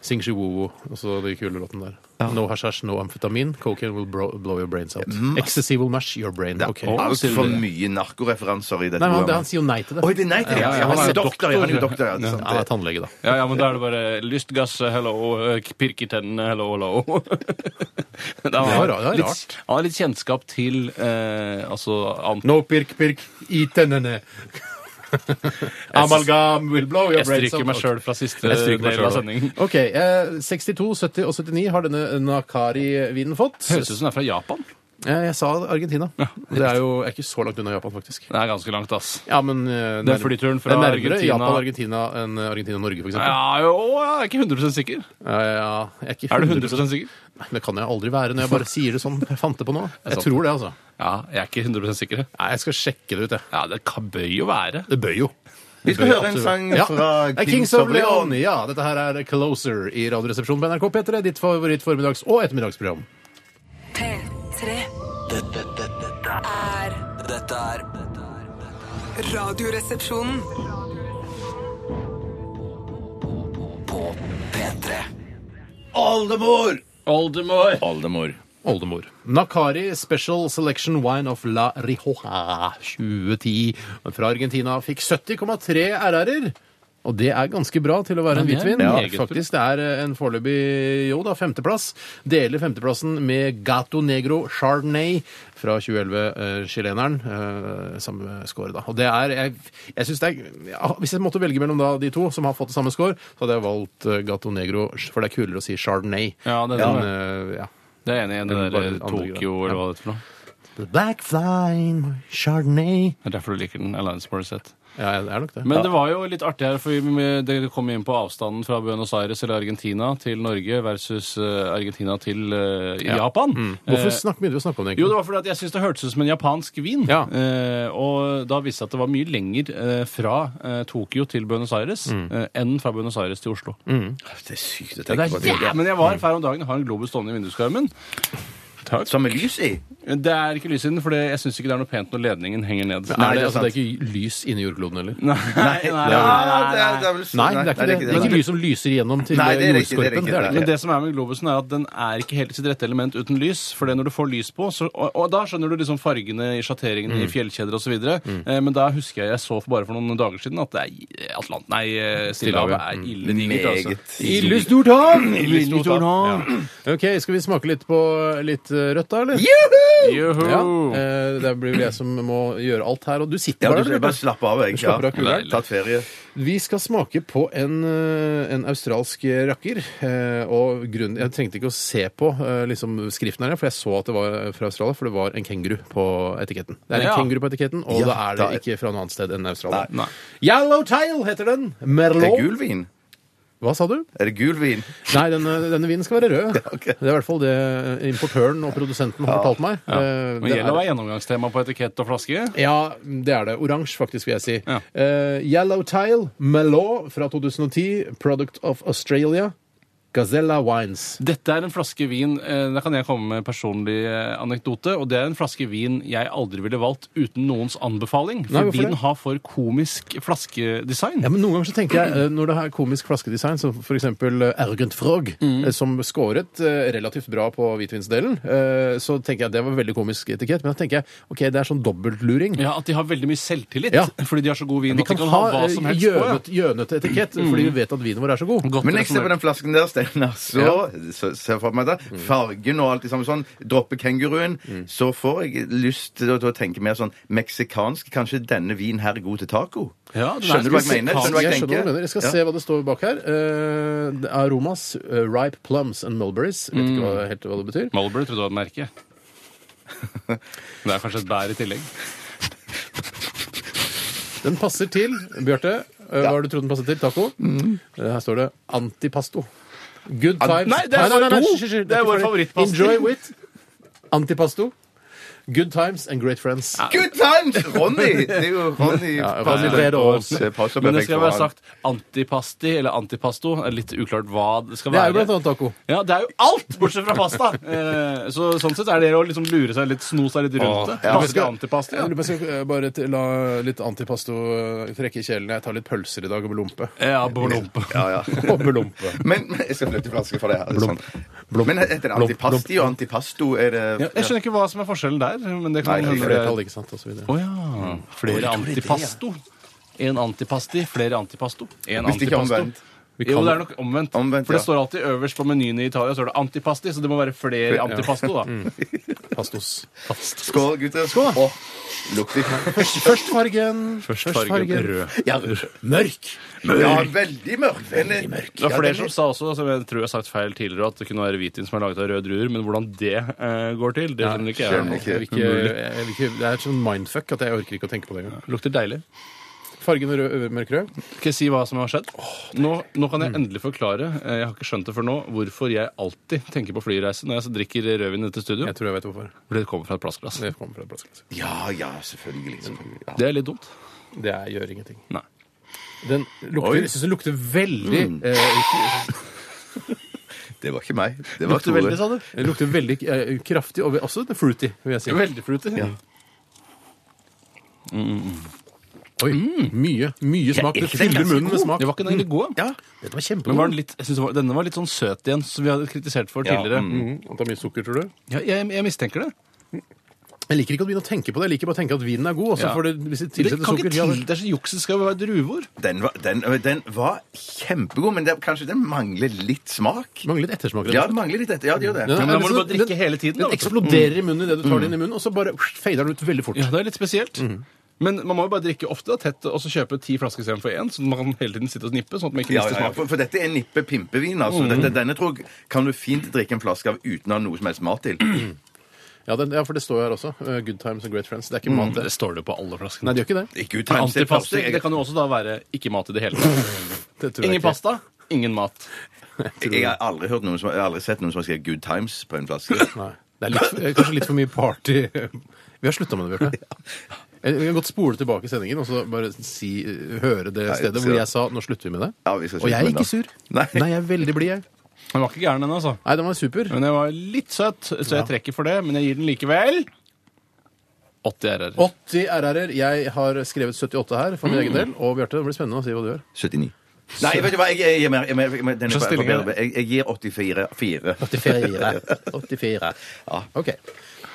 Sing Shi Woo Woo, og så de kule låtene der. No hashash, no amfetamin. Cocaine will bro blow your brains out. Ecstasy will mash your brain. Mm. Det er Ok. altfor mye narkoreferanser i dette Nei, men han, programmet. han sier jo nei til det. Oi, det er nei til det! Ja, Ja, ja, han, han er er doktor, ja, han er jo doktor. Ja, det er sant, Ja, han er det. tannlege, da. Ja, ja, men da er det bare lystgass, hello, eh, pirk i tennene, hello, hello. <laughs> det var ra- det var litt, han har litt kjennskap til eh, altså an No pirk, pirk i <laughs> tennene. Amalgam will blow your Jeg stryker meg sjøl fra siste del av sendingen. OK. Eh, 62, 70 og 79 har denne Nakari-vinen fått. Høres ut som den er fra Japan. Eh, Jeg sa Argentina. Det er jo jeg er ikke så langt unna Japan, faktisk. Det er ganske langt, ass. Ja, men eh, Det er nærm- flyturen fra det er nærmere Argentina. Japan-Argentina enn Argentina-Norge, for eksempel. Ja, jo, jeg er ikke 100 sikker. Ja, ja, jeg er, ikke Er du 100 sikker? Nei, Det kan jeg aldri være når jeg bare sier det sånn jeg fant det på <laughs> nå. Jeg sant. tror det, altså. Ja, jeg er ikke 100 sikker. Nei, jeg skal sjekke det ut, jeg. Ja, det kan bøy jo være. Det bør jo. Vi skal høre en sang Ja. fra Det er Kings of Leon. Ja, dette her er Closer i Radioresepsjonen på NRK P3. Ditt favoritt formiddags- og ettermiddagsprogram. P3 Dette, dette, dette, er- er dette er dette er- dette er Radioresepsjonen. På P3 Oldemor! Oldemor! Oldemor. Oldemor. Nakari Special Selection Wine of La Rioja 2010 fra Argentina fikk 70,3 RR-er. Og det er ganske bra til å være en Ja, det er hvitvin. meget bra. faktisk. Det er eh, en foreløpig jo da, femteplass. Deler femteplassen med Gato Negro Chardonnay fra 2011, eh, chileneren. Eh, samme score, da. Og det er Jeg, jeg syns det er ja, Hvis jeg måtte velge mellom da de to som har fått samme score, så hadde jeg valgt eh, Gato Negro, for det er kulere å si Chardonnay. Ja, det er enn, det. eh, ja. Det er enig i det Den der eh, bare andre Tokyo greia. eller hva det er for noe. The Black Flying Chardonnay. Det er derfor du liker den. Alliance Morissette. Ja, det er nok det. Men det var jo litt artig her, for vi- det kom inn på avstanden fra Buenos Aires eller Argentina til Norge versus eh, Argentina til eh, Japan. Mm. Hvorfor Eh, snakker, begynte vi å snakke om det? egentlig? Jo, det var fordi at jeg syntes det hørtes ut som en japansk vin. Ja. Eh, og da viste det seg at det var mye lenger eh, fra eh, Tokyo til Buenos Aires Mm. eh, enn fra Buenos Aires til Oslo. Det er sykt å Det tenke er på. det. jævlig, Men jeg var her om dagen og har en Globus stående i vinduskarmen. Som er lys i. Det er ikke lys i den, for det, jeg syns ikke det er noe pent når ledningen henger ned. Nei, Er det, det- er altså, det er ikke lys inni jordkloden heller? Nei, nei, nei, nei, det nei. er- det er vel- Nei, det er ikke det. Det er ikke nei. lys som lyser igjennom Nei, det er til ikke- det er ikke- jordskorpen. Det er det Men ikke. det som er med globusen, er at den er ikke helt sitt rette element uten lys. For det når du får lys på, så, og, og da skjønner du liksom fargene i sjatteringene i fjellkjeder osv. videre Eh, men da husker jeg jeg så for bare for noen dager siden at det er Atlant... Nei, eh, Stillehavet er ille digert, altså. Meget. Ille stort hav! Ille stort hav. Ja. OK, skal vi smake litt på litt eh, rødt, da, eller? Juhu! Ja. eh, Det blir vel jeg som må gjøre alt her, og du Ja, sitter du bare skal der. bare Bjarte. slappe av, jeg. Slapper av Ja. kuleren. Tatt ferie. Vi skal smake på en, eh, en australsk rakker. eh, Og grunnen, jeg trengte ikke å se på eh, liksom, skriften her, for jeg så at det var fra Australia, for det var en kenguru på etiketten. Det er en Ja. kenguru på etiketten, og Ja, da er det da er- ikke fra noe annet sted enn Australia. Nei. Yellowtail heter den! Er det Merlot. gul vin? Hva sa du? Er det gul vin? Nei, denne, denne vinen skal være rød. ok. Det er i hvert fall det importøren og produsenten har fortalt meg. Ja. Eh, Men det gjelder å er- være gjennomgangstema på etikett og flaske. Ja, det er det. Oransje, faktisk, vil jeg si. Ja. Eh, Yellowtail Melot fra 2010, Product of Australia. Gazella Wines. Dette er en flaske vin eh, Da kan jeg komme med en personlig eh, anekdote. Og det er en flaske vin jeg aldri ville valgt uten noens anbefaling. Nei, hvorfor Fordi det? den har for komisk flaskedesign. Ja, men Noen ganger så tenker jeg, eh, når det er komisk flaskedesign, som f.eks. Ergent Frog, Mm. eh, som skåret eh, relativt bra på hvitvinsdelen, eh, så tenker jeg at det var veldig komisk etikett. Men da tenker jeg ok, det er sånn dobbeltluring. Ja, At de har veldig mye selvtillit Ja. fordi de har så god vin. Vi at kan, de kan ha ha hva eh, som helst på, ja. Mm. gjønet, gjønete etikett fordi vi vet at vinen vår er så god. Godt Men jeg ser på resonert. den flasken der, Steinar. Så så ser jeg for meg da, Mm. fargen og alt det samme sånn. Dropper kenguruen. Så får jeg lyst til å, til å tenke mer sånn meksikansk. Kanskje denne vinen her er god til taco? Ja, den er skjønner du hva jeg mener? meksikansk. Skjønner du hva jeg jeg skjønner hva du tenker? mener. Jeg skal Ja. se hva det står bak her. Eh, det er Aromas eh, ripe plums and mulberries. Vet ikke hva, helt hva det betyr. Marlboro trodde det var et merke. <laughs> Det er kanskje et bær i tillegg. Den passer til, Bjarte. eh, Hva har du trodd den passer til? Taco? Mm. Eh, her står det antipasto. Good times. nei, det er to! hysj, hysj, hysj, Det er ikke vår ferdig. favorittpasta. Enjoy with antipasto. Good times and great friends. Good times! Ronny! Det er jo Ronny. Ja, passer Ronny Brede Aas. Det passer Men det perfekt skal for være han. sagt antipasti eller antipasto. Det er Litt uklart hva det skal Det er være. jo blant annet taco. Ja, det er jo alt, bortsett <laughs> fra pasta! Eh, så sånn sett er det å liksom lure seg litt, sno seg litt rundt det. ja. Masse antipasti, Jeg ja. lurer på om jeg skal eh, bare t- la litt antipasto eh, trekke i kjelen. Jeg tar litt pølser i dag og belompe. Ja, bolompe. Ja, ja. <laughs> Og <laughs> belompe. Men, men jeg skal flytte flaske for det her. Sånn. Men heter det antipasti og antipasto? Er det Ja, jeg skjønner ikke hva som er forskjellen der. Men det Nei, Mm. det er kan hende det er- Flertall, ikke sant, og så videre. Å ja. Flere antipasto. En antipasti, flere antipasto. En Hvis det ikke er omvendt. Jo, det er nok omvendt. Omvendt, for det ja. står alltid øverst på menyen i Italia står det antipasti, så det må være flere <laughs> antipasto, da. Mm. Pastos. Skål, gutter. Skål. Åh, lukter Først fargen. Først fargen rød. ja, Mørk. ja, veldig mørk. Veldig mørk. Det var flere som sa også, som jeg tror jeg har sagt feil tidligere, at det kunne være hvitvin som er laget av røde druer, men hvordan det eh, går til, det skjønner ikke jeg. skjønner ikke. Jeg vil ikke, jeg vil ikke, det er et sånn mindfuck at jeg orker ikke å tenke på det engang. Lukter deilig. Fargen er rød, mørkrød. Skal jeg si hva som har skjedd? Nå, nå kan jeg endelig forklare, eh, jeg har ikke skjønt det før nå, hvorfor jeg alltid tenker på flyreise når jeg drikker rødvin etter studio. Jeg tror jeg vet hvorfor. For det kommer fra et plastglass. Det kommer fra altså. et plastglass. Ja, ja, selvfølgelig. selvfølgelig. Ja. Det er litt dumt. Det er, gjør ingenting. Nei. Den lukter, jeg syns den lukter veldig Mm. eh, Det var ikke meg. Det var Lukter Tore. veldig, sa du? Den lukter veldig eh, kraftig, og også fruity, vil jeg si. Veldig fruity. Mm, Oi, mye, mye smak. Det ikke den fyller ganske munnen med smak. Mm. Det var ikke Mm. den egentlig god. Ja. Dette var Men var kjempegod. den litt, jeg synes det var, denne var litt sånn søt igjen, som vi hadde kritisert for tidligere. Mm, det er mye sukker, tror du? Ja, jeg, jeg mistenker det. Jeg liker ikke å begynne å tenke på det. Jeg liker bare å tenke at vinen er god. Og så Ja. får det, hvis det Det, tilsetter kan ikke sukker ja, til, det er så juks, det skal jo være druer. Den, var, den, den var kjempegod, men det, kanskje den mangler litt smak? det Mangler litt ettersmak. rett og Ja, slett. det mangler litt dette. Ja, det gjør det. Den er Men da må liksom- du bare drikke hele tiden, da, Den vet du. Mm. eksploderer i munnen idet du tar den inn i munnen, og så bare fader den ut veldig fort. Ja, det er litt spesielt. Men man må jo bare drikke ofte, da, tett, og så kjøpe ti flasker istedenfor én, så man kan hele tiden sitte og snippe, sånn at man ikke Ja, mister ja, ja. smaken. For, for dette er nippe pimpevin, altså. Mm. Dette, denne tror jeg kan du fint drikke en flaske av uten å ha noe som helst mat til. Mm. Ja, den, ja for det står jo her også. eh, Good times and great friends. Det er ikke mat, det. Mm. Det står det på alle flaskene. Nei, det gjør ikke det. Ikke ut Men men det er Antipasti, plastikk. det kan jo også da være ikke mat i <laughs> det hele tatt. det tror jeg Ingen ikke. pasta, ingen mat. Jeg, jeg har aldri, hørt noen som, jeg har aldri sett noen som har skrevet 'Good Times' på en <laughs> flaske. Nei. Det er litt, eh, kanskje litt for mye party. Vi har slutta med det, <laughs> Eh, Bjarte. Jeg jeg kan godt spole tilbake sendingen og så bare si, eh, høre det stedet hvor skal- jeg sa 'nå slutter vi med det'. Ja, vi skal Og jeg er slutte med ikke det. sur. Nei. <laughs> Nei, jeg er veldig blid, jeg. Den var ikke gæren ennå, altså. Nei, den var super. Men jeg var litt søt, så jeg trekker for det. Men jeg gir den likevel 80 RR. 80 RR-er. Jeg har skrevet 78 her for min egen del. Og Bjarte, det blir spennende å si hva du gjør. 79. Nei, vet du hva, jeg, jeg, jeg, jeg, jeg, jeg, den Så er stillingen er- forbedret. jeg, jeg gir 84. Fire. <laughs> 84. 84. Ja. OK.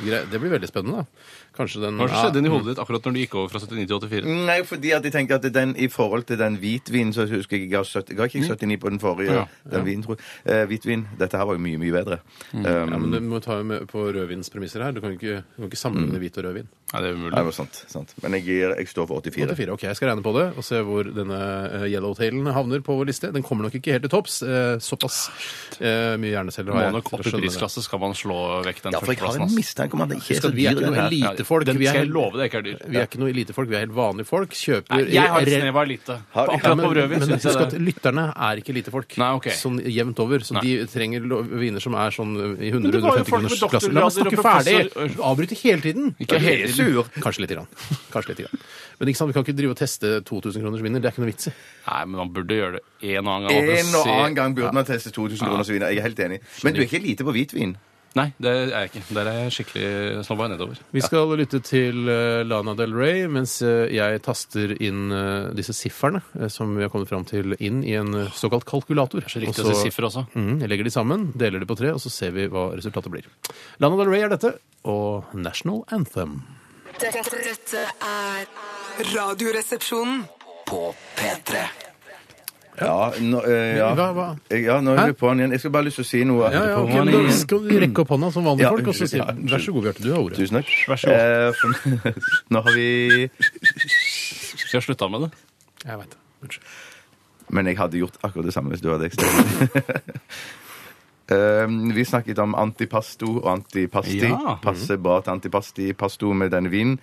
Grei- Det blir veldig spennende, da. Kanskje den Hva Ja. skjedde inn i hodet ditt akkurat når du gikk over fra 79 til 84? Nei, fordi at jeg tenkte at den i forhold til den hvitvinen så husker jeg jeg ga 70, ga ikke Mm. jeg 79 på den forrige. Ja, Den vinen, tror jeg. Eh, hvitvin. Dette her var jo mye, mye bedre. Um, Mm. Ja, men Du må ta med på rødvinspremisser her. Du kan ikke, du kan ikke Mm. sammenligne hvit og rødvin. Nei, det er Nei, det umulig. var sant, sant. Men jeg, gir, jeg står for 84. 84, ok, Jeg skal regne på det og se hvor denne eh, yellowtailen havner på vår liste. Den kommer nok ikke helt til topps. eh, Såpass eh, mye hjerneceller Ah, Må har jeg. nok til å opp i skjønne det. prisklasse skal man slå vekk den Ja, for jeg har førsteplassen. en ass. mistanke om at det ikke er Husk så at vi er dyr. ikke den noe her. Ja, elitefolk. Den Vi er skal helt- jeg love deg ikke er dyr. vi er ikke noe elitefolk, vi er helt vanlige folk. Kjøper Nei, jeg har re- et snev av elite. På Har- Ja, akkurat men, på rødvin men syns husk jeg at det. lytterne er ikke lite folk. Nei, ok. Sånn jevnt over. Så de trenger lo- viner som er sånn i det var jo 100-150 folk kroners med klasse. doktorgrader La meg snakke og ferdig! professor- Du avbryter hele tiden! Ikke Du hele er tiden, sur. Kanskje lite grann. Kanskje lite grann. Men ikke sant, vi kan ikke drive og teste 2000 kroners vinner. Det er ikke noe vits i. Nei, men han burde gjøre det en annen gang. at En det og ser- annen gang burde man teste 2000 kroner osv. Jeg er helt enig. Men du er ikke lite på hvitvin. Nei, det er jeg ikke. Der er jeg skikkelig snobba nedover. Vi skal lytte til eh, Lana Del Rey mens eh, jeg taster inn eh, disse sifferne eh, som vi har kommet fram til, inn i en eh, såkalt kalkulator. Så Og riktig å så- si siffer også. Mm, jeg legger de sammen, deler de på tre, og så ser vi hva resultatet blir. Lana Del Rey er dette, og National Anthem. Dette, dette er Radioresepsjonen. På P3 Ja, nå, eh, ja. Hva- hva? Jeg- ja, nå Hæ? er du på den igjen. Jeg skal bare lyst til å si noe. Ja, ja, ok, men da skal vi rekke opp hånda som vanlige Ja, folk, og så sier ja, vi vær så god, Bjarte, du har ordet. Tusen takk. Vær så god. Eh, for, <laughs> nå har vi Vi har slutta med det. Jeg vet det. Unnskyld. Men jeg hadde gjort akkurat det samme hvis du hadde ekstra. <laughs> Eh, vi snakket om antipasto og antipasti. Ja. mhm. Passer bra til antipasti-pasto med denne vinen.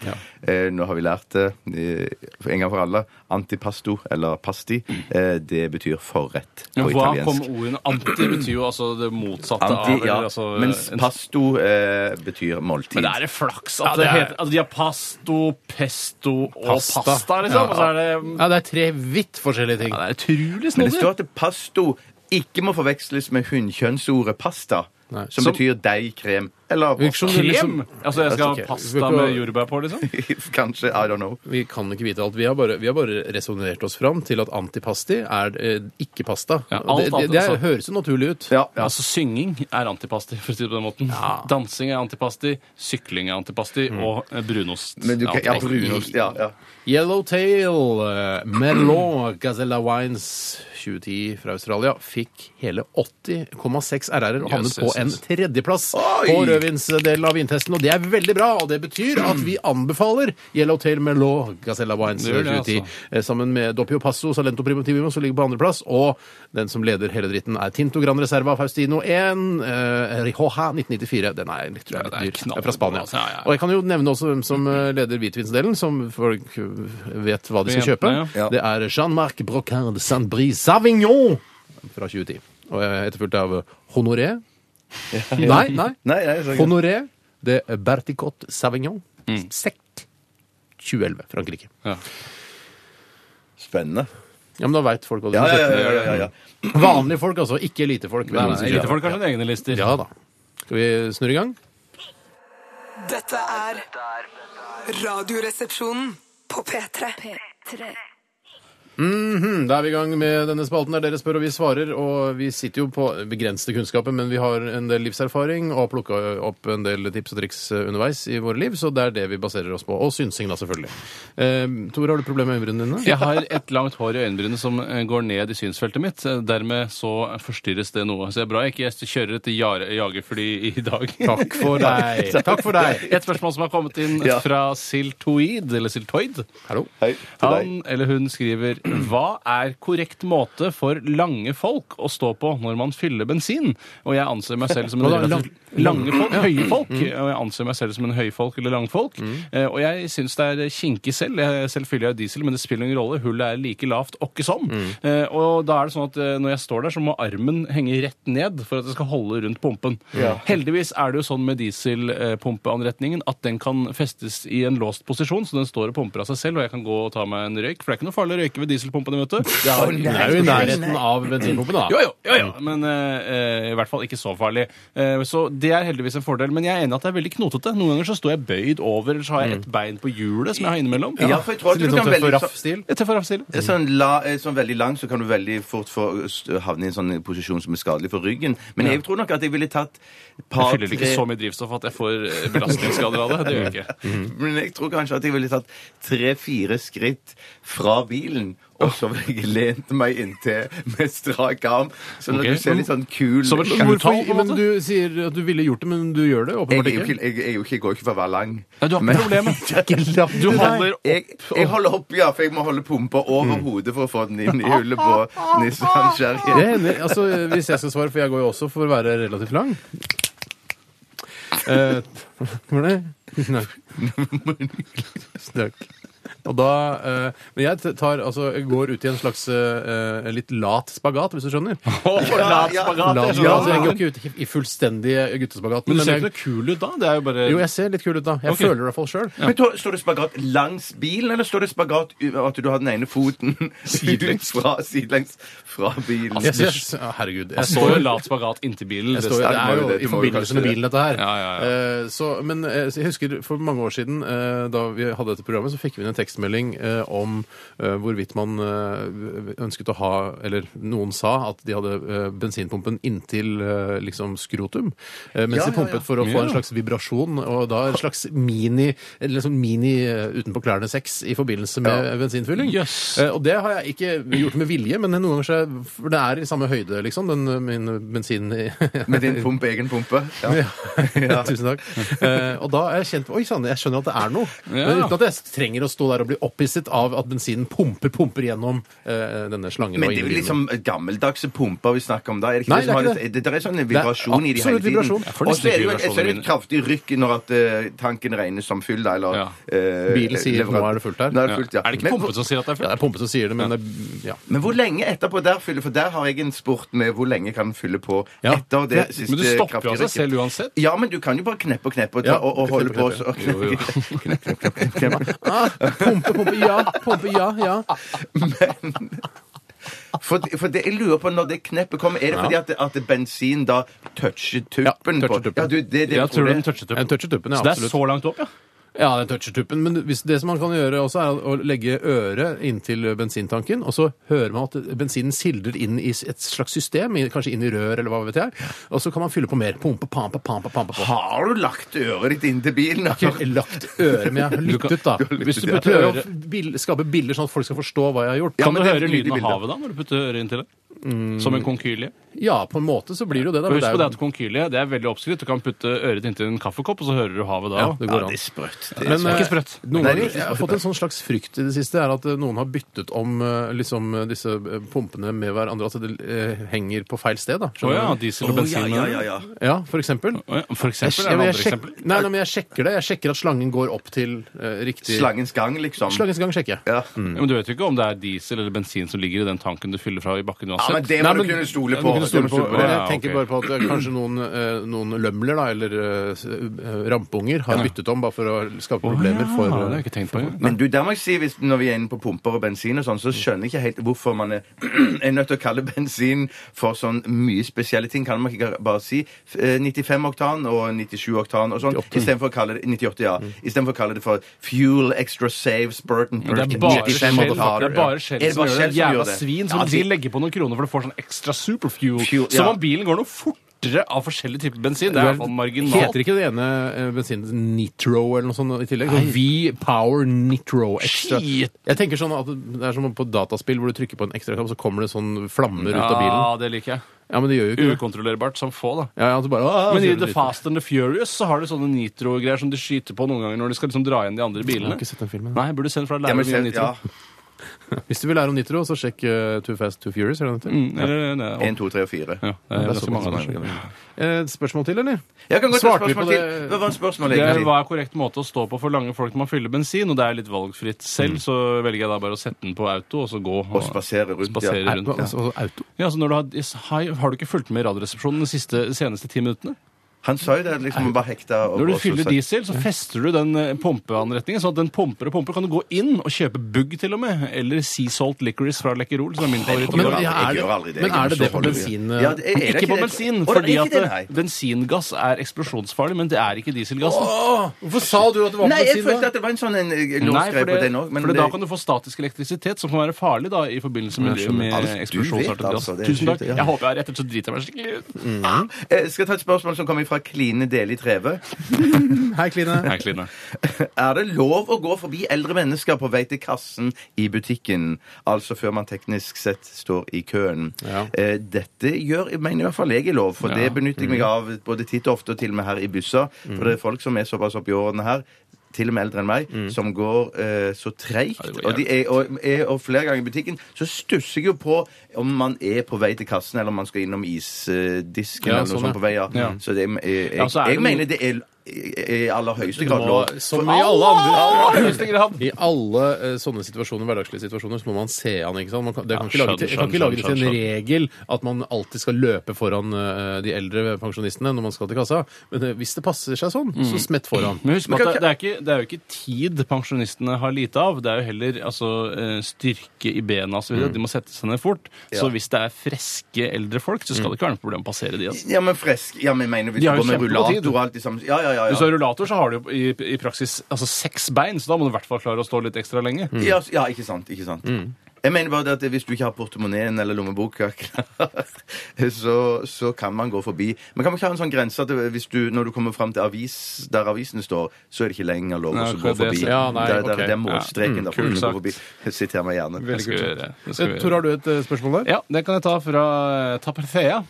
Eh, nå har vi lært det eh, en gang for alle. Antipasto, eller pasti, eh, det betyr forrett på Men hva kom italiensk. ordene Anti betyr jo altså det motsatte Anti, av ja. eller, altså, Mens en- pasto eh, betyr måltid. Men det er det flaks at Ja, det det er- heter altså, De har pasto, pesto og Pasta. pasta, liksom. Ja. Og så er det Ja, det er tre vidt forskjellige ting. ja, Det er utrolig Men det står snodig. at pasto ikke må forveksles med hunnkjønnsordet pasta, Nei. som, Som- betyr deig, krem eller Virker som det Krem! liksom- Altså, jeg Ok, skal ha vi pasta får- med jordbær på, liksom. Kanskje. I don't know. Vi kan ikke vite alt. Vi har bare, vi har bare resonnert oss fram til at antipasti er eh, ikke pasta. Ja, alt det det, annet, det altså. høres jo naturlig ut. <laughs> Ja, ja. Altså, Synging er antipasti, for å si det på den måten. Dansing er antipasti, sykling er antipasti, og eh, brunost Mm. Men du kan, er ja, antipasti. brunost, ja, ja. Yellowtail eh, Merlot Gazella Wines 2010 fra Australia fikk hele 80,6 RR-er og havnet Yes, på yes, en yes. tredjeplass Oi! på rødvinsdelen av vintesten. Og det er veldig bra, og det betyr at vi anbefaler Yellowtail Merlot Gazella Wines Det altså. gjør det, 2010 eh, sammen med Doppio Passo Salento Primotivimo som ligger på andreplass, og den som leder hele dritten er Tinto Gran Reserva Faustino 1 eh, Rioja 1994. Den er litt, tror jeg, Ja, det er litt dyr. Den er knallgod, Fra Spania. altså. Ja, ja, ja. Og jeg kan jo nevne også hvem som eh, leder hvitvinsdelen, som folk eh, vet hva de skal kjøpe. Jentene, ja. Det er Jean-Marc Brocard de Saint-Brie Savignon fra 2010. Og eh, etterfulgt av Honoré. Nei, nei. Nei, nei, så- Honoré de Berticot Savignon. Sekk. 2011, Frankrike. Ja. Spennende. Ja, men da veit folk hva de Ja, skal ja, kjøpe. ja, ja, ja, ja. Vanlige folk, altså. Ikke elitefolk. vil Nei, jeg men, si. lite folk har sine egne lister. Ja da. Skal vi snurre i gang? Dette er Radioresepsjonen på P3. Mm, Da er vi i gang med denne spalten der dere spør og vi svarer. Og vi sitter jo på begrensede kunnskaper, men vi har en del livserfaring og har plukka opp en del tips og triks eh, underveis i våre liv, så det er det vi baserer oss på. Og synsing, da, selvfølgelig. Eh, Tor, har du problemer med øyebrynene <laughs> dine? Jeg har et langt hår i øyenbrynet som eh, går ned i synsfeltet mitt. Eh, Dermed så forstyrres det noe. Så det er bra jeg ikke kjører et jar- jagerfly i dag. Takk <laughs> for deg. Takk for <laughs> deg. Et spørsmål som har kommet inn Ja. fra Siltoid, eller Siltoid. Hallo. Hei til deg. Han eller hun skriver Hva er korrekt måte for lange folk å stå på når man fyller bensin? Og jeg anser meg selv som en Hva da, lang- Mm. relativt Lange folk, høye folk. Og jeg anser meg selv som en høyfolk eller langfolk. Eh, Og jeg syns det er kinkig selv. Jeg- Selv fyller jeg diesel, men det spiller ingen rolle. Hullet er like lavt åkke som. Mm. Eh, Og da er det sånn at eh, når jeg står der, så må armen henge rett ned for at det skal holde rundt pumpen. Heldigvis er det jo sånn med dieselpumpeanretningen at den kan festes i en låst posisjon, så den står og pumper av seg selv, og jeg kan gå og ta meg en røyk. For det er ikke noe farlig å røyke ved dieselpumpene, vet <laughs> du. Det er, det er jo i nærheten av bensinpumpen, da. Jo, jo, jo, jo. men eh, eh, i hvert fall ikke så farlig. Eh, så det er heldigvis en fordel. Men jeg er enig at det er veldig knotete. Noen ganger så står jeg bøyd over, eller så har jeg et bein på hjulet som jeg har innimellom. Mm. Ja, for jeg tror at du Litt kan sånn tøff og veldig raff stil. Jeg treffer av stille. så- Sånn, la, eh, sånn veldig lang, så kan du veldig fort få s- havne i en sånn posisjon som er skadelig for ryggen. Men jeg tror nok at jeg ville tatt et par Jeg fyller ikke så mye drivstoff at jeg får eh, belastningsskader av det. Det gjør jeg ikke. Men jeg tror kanskje at jeg ville tatt tre-fire skritt fra bilen, og så ville jeg lent meg inntil med strak arm, sånn at Ok. du ser litt sånn kul Som et Jeg utall, på Hvorfor, en men måte. du sier at du ville gjort det, men du gjør det er åpenbart jo ikke. ikke, jeg, er jo ikke, jeg går ikke for å være lang. Nei, du har Men- ikke <laughs> problemet. Du holder Mm. Jeg, jeg holder opp, ja, for jeg må holde pumpa over hodet for å få den inn i hullet <laughs> på Nissan Det Sherry. hender, altså, hvis jeg skal svare, for jeg går jo også for å være relativt lang. Eh, Var det? Tusen takk. Tusen takk. Og da, eh, men jeg tar, altså, jeg går ut i en slags eh, eh, litt lat spagat, hvis du skjønner. <laughs> Lat ja. spagat. Lat, jeg ja, altså, jeg skjønner. går ikke ut i- i fullstendig guttespagat. Men du ser jeg- jo ikke noe kul ut da. Det er jo bare jo, jeg ser litt kul ut da. Jeg Ok. føler det i hvert fall sjøl. Men tror- Står det spagat langs bilen, eller står det spagat u- at du har den ene foten Sidelengs. Altså, ut fra, sidelengs fra bilen? Jeg ser- ja, Herregud. Jeg Jeg står jo står lat spagat inntil bilen. Jeg står, Ja, du det må er jo jo det, i du må jo forbindelse kanskje det. med bilen, dette her. Ja, ja, ja. Eh, Så, men eh, så jeg husker for mange år siden, eh, da vi hadde dette programmet, så fikk vi inn en tekstmelding eh, om eh, hvorvidt man eh, ønsket å ha Eller noen sa at de hadde eh, bensinpumpen inntil eh, liksom skrotum, eh, mens Ja, de ja, pumpet ja. for å få en Ja. slags vibrasjon, og da en slags mini eller sånn mini eh, utenpå klærne-sex i forbindelse med bensinfylling. Jøss. Eh, Og det har jeg ikke gjort med vilje, men noen ganger så er for det er i samme høyde, liksom, den eh, min bensin <laughs> Med din pump, egen pumpe? Ja. Ja. Tusen takk. Eh, og da er jeg kjent Oi sann, jeg skjønner at det er noe. Ja. Men uten at jeg trenger å stå der og bli opphisset av at bensinen pumper pumper gjennom eh, denne slangen. Men og det er inn jo i bilen. liksom gammeldagse pumper vi snakker om da? Er det ikke Nei, det, som det er har ikke litt- det, det er sånn Det er vibrasjon i de hele absolutt tiden. vibrasjon. Jeg får Og nesten så er det jo så ikke er det jo vibrasjoner. et kraftig rykk når at eh, tanken regnes som fyll, da, eller Ja. eh, Bilen sier, leverant- "Nå er det fullt her." Nå er Ja. det fullt, ja. Er det ikke Men- pumpen som sier at det Ja, er det fullt? er pumpe som sier det, men det- ja. Men hvor lenge etterpå der fyller For der har jeg en sport med hvor lenge kan den fylle på Ja. etter det Ja, siste Men du stopper jo kraftige av deg rykket. selv uansett. Ja, men du kan jo bare kneppe og kneppe og, ta, altså Ja, og, og kneppe, holde på kneppe, så <laughs> Jo, <laughs> jo. Kneppe, kneppe, kneppe. Ah, pumpe, pumpe, ja, pumpe, ja, ja. For, for det, jeg lurer på når det kneppet kommer. Er det fordi at, at bensin da toucher tuppen? toucher på- tuppen. Ja, du, det, det, Jeg tror det. de toucher En tuppen. toucher tuppen, ja, Så det er absolutt. så langt opp, ja? Ja, den toucher tuppen. Men hvis det som man kan gjøre også, er å legge øret inntil bensintanken, og så hører man at bensinen sildrer inn i et slags system, i- kanskje inn i rør eller hva vet jeg, og så kan man fylle på mer. Pumpe, pampe, pampe, pampe på. Har du lagt øret ditt inntil bilen? Jeg har ikke lagt øret, men jeg har lyttet, da. Hvis du Jeg putter prøver øret å bil- skape bilder sånn at folk skal forstå hva jeg har gjort. Kan men du det er høre et nydelig lyden av bilde. havet da, når du putter øret inntil det? Som en konkylie? Ja, på en måte så blir det jo det, da. Og men Husk det er på det jo- at konkylie det er veldig oppskrytt. Du kan putte øret inntil en kaffekopp, og så hører du havet da. Ja, det går an. sprøtt. Men Ikke eh, sprøtt. noen Nei, ganger ikke jeg har fått en sånn slags frykt i det siste, er at eh, noen har byttet om eh, liksom eh, disse eh, pumpene med hverandre, at det eh, henger på feil sted, da. Å ja, Skjønner du? diesel og bensin. ja, ja, ja. Ja, for eksempel. Å ja, For Jeg, eksempel. jeg, jeg, Er det andre sjek- eksempel? nei, nei, men jeg sjekker det. Jeg sjekker at slangen går opp til eh, riktig Slangens gang, liksom. Slangens gang sjekker jeg. Ja. Ja, Men du vet jo ikke om det er diesel eller bensin som ligger i den tanken du fyller fra i bakken ja, men uansett. det må Nei, du men- kunne stole på. Ja, du kunne stole Det må på. du Men ja, jeg tenker ok. bare på at det er kanskje noen, eh, noen lømler da, eller eh, s- eh, rampunger har byttet om bare for å skape problemer for ja, det har eh, jeg ikke tenkt på engang. Men du, der må jeg si, hvis, når vi er inne på pumper og bensin og sånn, så skjønner jeg ikke helt hvorfor man er, <clears throat> er nødt til å kalle bensin for sånn mye spesielle ting. Kan man ikke bare si eh, 95 oktan og 97 oktan og sånn, istedenfor å kalle det 98, ja. Mm. Istedenfor å kalle det for fuel extra saves Burton Det er Burton, bare 95 Shell oktan. det er bare Shell Er det som bare gjør det. Shell som Jævla gjør det? Ja, svin som de- de legger på noen kroner for du får sånn ekstra superfuel. Fuel, ja. Som om bilen går noe fortere av forskjellige typer bensin. Det er i hvert fall marginalt. Heter ikke det ene eh, bensinen Nitro eller noe sånt i tillegg? Sånn V-Power Nitro Extra. Shit. Jeg tenker sånn at det er som på dataspill hvor du trykker på en ekstra knapp, så kommer det sånn flammer ut av Ja, bilen. det liker jeg. Ja, men det gjør jo ikke det. Ukontrollerbart som få, da. Ja, ja, så bare, «Åh», Men sier det i The litt. Fast and the Furious så har du sånne nitro-greier som de skyter på noen ganger når de skal liksom dra igjen de andre Jeg bilene. har ikke sett den filmen. Nei, burde du se den fra Ja, læreren men din Shell- Nitro. ja. Hvis du vil lære om Nitro, så sjekk eh, Too Fast, Too Furious. Eller noe. Mm, eller- nei, opp- 1, 2, 3 og 4. ja, det er ganske mange av dem. Eh, spørsmål til, eller? Jeg kan godt ta et Svarte vi på spørsmål det? til. Hva var spørsmålet Det er, egentlig? hva er korrekt måte å stå på for lange folk når man fyller bensin? Og det er litt valgfritt selv, så velger jeg da bare å sette den på auto, og så gå. Å Mm. spasere rundt, Spasere ja. rundt. Hva- altså, auto? Ja, altså når du har, yes, hei, har du ikke fulgt med i Radioresepsjonen de siste, seneste ti minuttene? Han sa jo det, liksom bare hekta og Når du og så fyller sa- diesel, så fester du den eh, pumpeanretningen, sånn at den pumper og pumper. Kan du gå inn og kjøpe Bugg til og med, eller Sea Salt Licorice fra Lekkerol, som er min favoritt. Men- Men, Jeg ja, er gjør aldri det, det. men Jeg er det det så på aldri det. bensin? Ja, det er- er det Ikke på det? bensin, Å, det er fordi ikke at det, eh, nei. bensingass er eksplosjonsfarlig, men det er ikke dieselgassen. Hvorfor sa du at det var Nei, på jeg følte bensin? at det var en sånn en, eh, Nei, låsgreie på for, det, den òg. for det, da kan du få statisk elektrisitet, som kan være farlig da, i forbindelse med, Jeg skjønner. med Altså, du eksplosjonsartet vet, gass. altså, det er Tusen takk. sjukt, ja. Jeg håper jeg har rett, ellers så driter jeg meg <laughs> skikkelig ut. Jeg Eh, skal ta et spørsmål som kommer fra Kline Deli Treve. Hei, Kline. Nei, Kline. Er det lov å gå forbi eldre mennesker på vei til kassen i butikken? Altså før man teknisk sett står i køen. Ja. Eh, Dette gjør, mener i hvert fall jeg er lov, for Ja. Mm. det benytter jeg meg av både titt og ofte, og til og med her i busser. For det er folk som er såpass oppi årene her. Til og med eldre enn meg, som går eh, så treigt. Mm. Ja, det går og, de er, og, er, og flere ganger i butikken så stusser jeg jo på om man er på vei til kassen, eller om man skal innom isdisken Ja, eller noe sånn, sånt på vei. Ja. Ja. Så det, er- jeg, jeg, Ja, så er det jeg noe- mener det er eh, i i aller høyeste Du grad må, lov. som For- i alle andre Aller høyeste grad. I alle eh, sånne situasjoner, hverdagslige situasjoner så må man se an. ikke sant? Man kan, det kan Ja, ikke lage, til, skjønn, kan ikke skjønn, lage det til en skjønn, regel at man alltid skal løpe foran eh, de eldre pensjonistene når man skal til kassa. Men eh, hvis det passer seg sånn, så smett foran. Men husk Men at kan det, det, er ikke, det er jo ikke tid pensjonistene har lite av. Det er jo heller altså, eh, styrke i bena osv. Mm. De må sette seg ned fort. Så hvis det er friske eldre folk, så Mm. skal det ikke være noe problem å passere de. Altså. Ja, men fresk Ja, men mener vi De har jo går med kjempegod tid. rullator og alt det samme Ja, ja, ja. Hvis du ja. har rullator, så har du jo i, i praksis altså, seks bein, så da må du i hvert fall klare å stå litt ekstra lenge. Ja, ja ikke sant. Ikke sant. Mm. Jeg mener bare det at hvis du ikke har portemoneen eller lommeboka klar, <laughs> så, så kan man gå forbi. Men kan man ikke ha en sånn grense at hvis du, når du kommer fram til avis, der avisen står, så er det ikke lenger lov å Nei, så gå akkurat det- forbi? ja, nei, det, ok. det, det er målstreken. Ja, da får kult du gå sagt. forbi. Siter meg gjerne. Det skal vi gjøre. Det skal vi Eh, gjøre. Tor, har du et eh, spørsmål der? Ja, det kan jeg ta fra eh, Taperthea.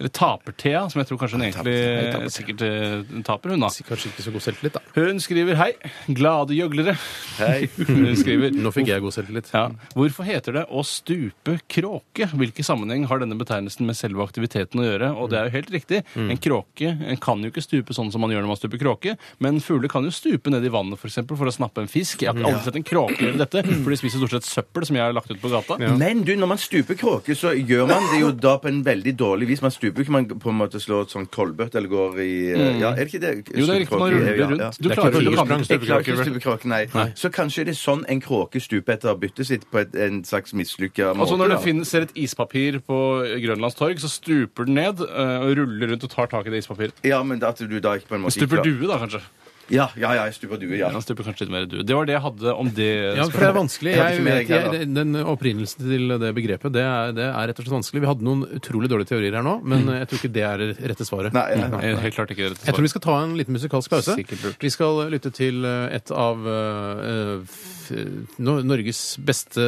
Eller Taperthea, som jeg tror kanskje hun egentlig Taperthea, eh, sikkert eh, taper, hun da. Kanskje ikke så god selvtillit, da. Hun skriver hei, glade gjøglere. <laughs> Hei. Hun skriver Nå fikk jeg god selvtillit. ja. Hvorfor heter det å stupe kråke? Hvilken sammenheng har denne betegnelsen med selve aktiviteten å gjøre? Og det er jo helt riktig. Mm. En kråke kan jo ikke stupe sånn som man gjør når man stuper kråke, men fugler kan jo stupe ned i vannet f.eks. For, eksempel, for å snappe en fisk. Jeg har Mm. aldri sett en kråke gjøre dette, for de spiser stort sett søppel som jeg har lagt ut på gata. Men du, når man stuper kråke, så gjør man det jo da på en veldig dårlig vis. Man stuper jo ikke, man på en måte slår et sånn kolbøtt eller går i eh, Ja, er det ikke det? Mm. Jo, det er riktig. Man ruller Ja, ja. rundt. Du Det er klarer ikke jo tigersprang. ikke Jeg klarer ikke å stupekråke. stupe kråke, nei. Så kanskje det er sånn en kråke stuper etter å ha byttet sitt på et, en slags mislykka måte. Altså Når du da. finner, ser et ispapir på Grønlands torg, så stuper den ned eh, og ruller rundt og tar tak i det ispapiret. Ja, men at du da ikke på en måte Stuper ikke- due, da, kanskje. Ja, ja, ja, jeg stuper due, ja. Ja, stuper kanskje litt mer due. Det var det jeg hadde om det. Ja, for det er vanskelig. Jeg hadde ikke Jeg mer vet, jeg, jeg, den opprinnelsen til det begrepet, det er, det er rett og slett vanskelig. Vi hadde noen utrolig dårlige teorier her nå, men jeg tror ikke det er det rette svaret. Nei, nei, nei. Eh, Helt klart ikke det rette Jeg tror svaret. vi skal ta en liten musikalsk pause. Sikkert lurt. Vi skal lytte til eh, et av eh, f- no- Norges beste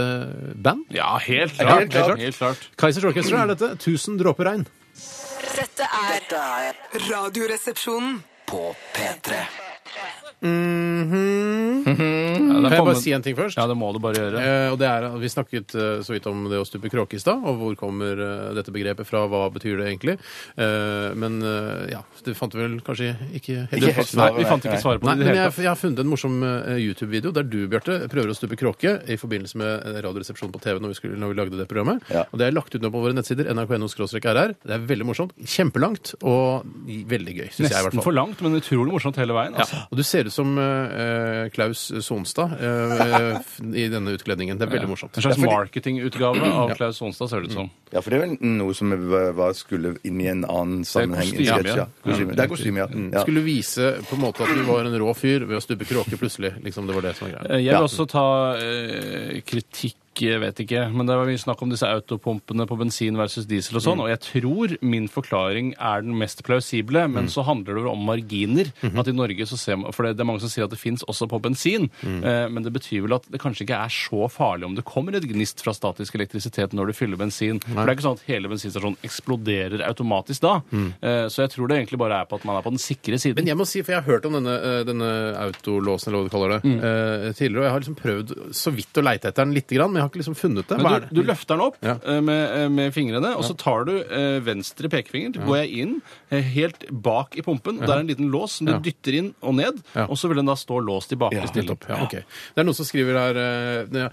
band. Ja, helt klart. Helt klart. Helt klart. Kaizers Orkestra er dette. 1000 dråper regn. Dette er Radioresepsjonen. På P3 Mhm. Ja, Kan jeg bare si en ting først? Ja, det må du bare gjøre. Eh, og det er, Vi snakket eh, så vidt om det å stupe kråke i stad, og hvor kommer eh, dette begrepet fra? Hva betyr det egentlig? Eh, men eh, ja, det fant vi vel kanskje ikke helt Ikke helt Nei, svaret, vi fant nei. ikke svaret på Nei, det i men det jeg, hele tatt. jeg har funnet en morsom eh, YouTube-video der du, Bjarte, prøver å stupe kråke i forbindelse med eh, Radioresepsjonen på TV når vi, skulle, når vi lagde det programmet. Ja. Og det er lagt ut nå på våre nettsider, nrk.no-rr. Det er veldig morsomt, kjempelangt og veldig gøy, syns jeg i hvert Nesten fall. for langt, men utrolig morsomt hele veien. Altså. Og du ser ut som eh, eh, Klaus Sonstad eh, <laughs> f- i denne utkledningen. Det er veldig morsomt. En slags marketingutgave av Klaus Sonstad, ser det ut som. Ja, for det er vel noe som var- var- skulle inn i en annen sammenheng. i en kostyme, sketsj, ja. Mm. Kostyme. Det er kostyme, ja. ja. Skulle vise på en måte at du var en rå fyr ved å stupe kråke plutselig. liksom Det var det som var greia. Eh, Jeg vil også ta eh, kritikk, jeg vet ikke, men det var mye snakk om disse autopumpene på bensin versus diesel og sånn, og jeg tror min forklaring er den mest plausible, men så handler det vel om marginer, at i Norge så ser man, for det, det er mange som sier at det finnes også på bensin, eh, men det betyr vel at det kanskje ikke er så farlig om det kommer et gnist fra statisk elektrisitet når du fyller bensin, for det er ikke sånn at hele bensinstasjonen eksploderer automatisk da, Eh, så jeg tror det egentlig bare er på at man er på den sikre siden. Men jeg må si, for jeg har hørt om denne, eh, denne autolåsen, eller hva du kaller det, Mm. eh, tidligere, og jeg har liksom prøvd så vidt å leite etter den litt, grann, men jeg har ikke liksom funnet det. Hva Men er det? du, du løfter den opp Ja. eh, med, eh, med fingrene, og så tar du eh, venstre pekefinger, går jeg inn, eh, helt bak i pumpen, og der er en liten lås som du Ja. dytter inn og ned, Ja. og så vil den da stå låst i bakre Ja, stilling. nettopp. Ja, ok. Det er noen som skriver her eh, ja,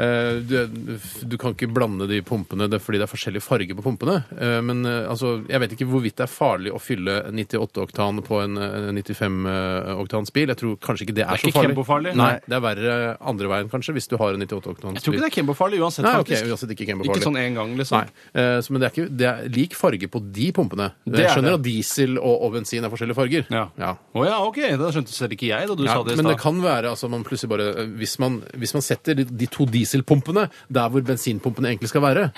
eh, du, du kan ikke blande de pumpene det er fordi det er forskjellig farge på pumpene. Eh, Men eh, altså, jeg vet ikke hvorvidt det er farlig å fylle 98-oktan på en 95-oktans bil. Jeg tror kanskje ikke det er, Det er så ikke farlig. kjempefarlig. Nei, Det er verre eh, andre veien, kanskje, hvis du har en 98-oktans bil. Jeg tror ikke det er Kembo-farlig uansett, Nei, ok, faktisk. uansett ikke ikke kjempefarlig. sånn én gang, liksom. Nei, eh, så, men det er ikke det er lik farge på de pumpene. Det er Jeg skjønner det. at diesel og, og bensin er forskjellige farger. Ja. Ja. Å ja, OK. Da skjønte selv ikke jeg da du Ja, sa det i men det stad. kan være altså, man plutselig bare eh, hvis man, hvis man setter de, de to dieselpumpene der hvor bensinpumpene egentlig skal være,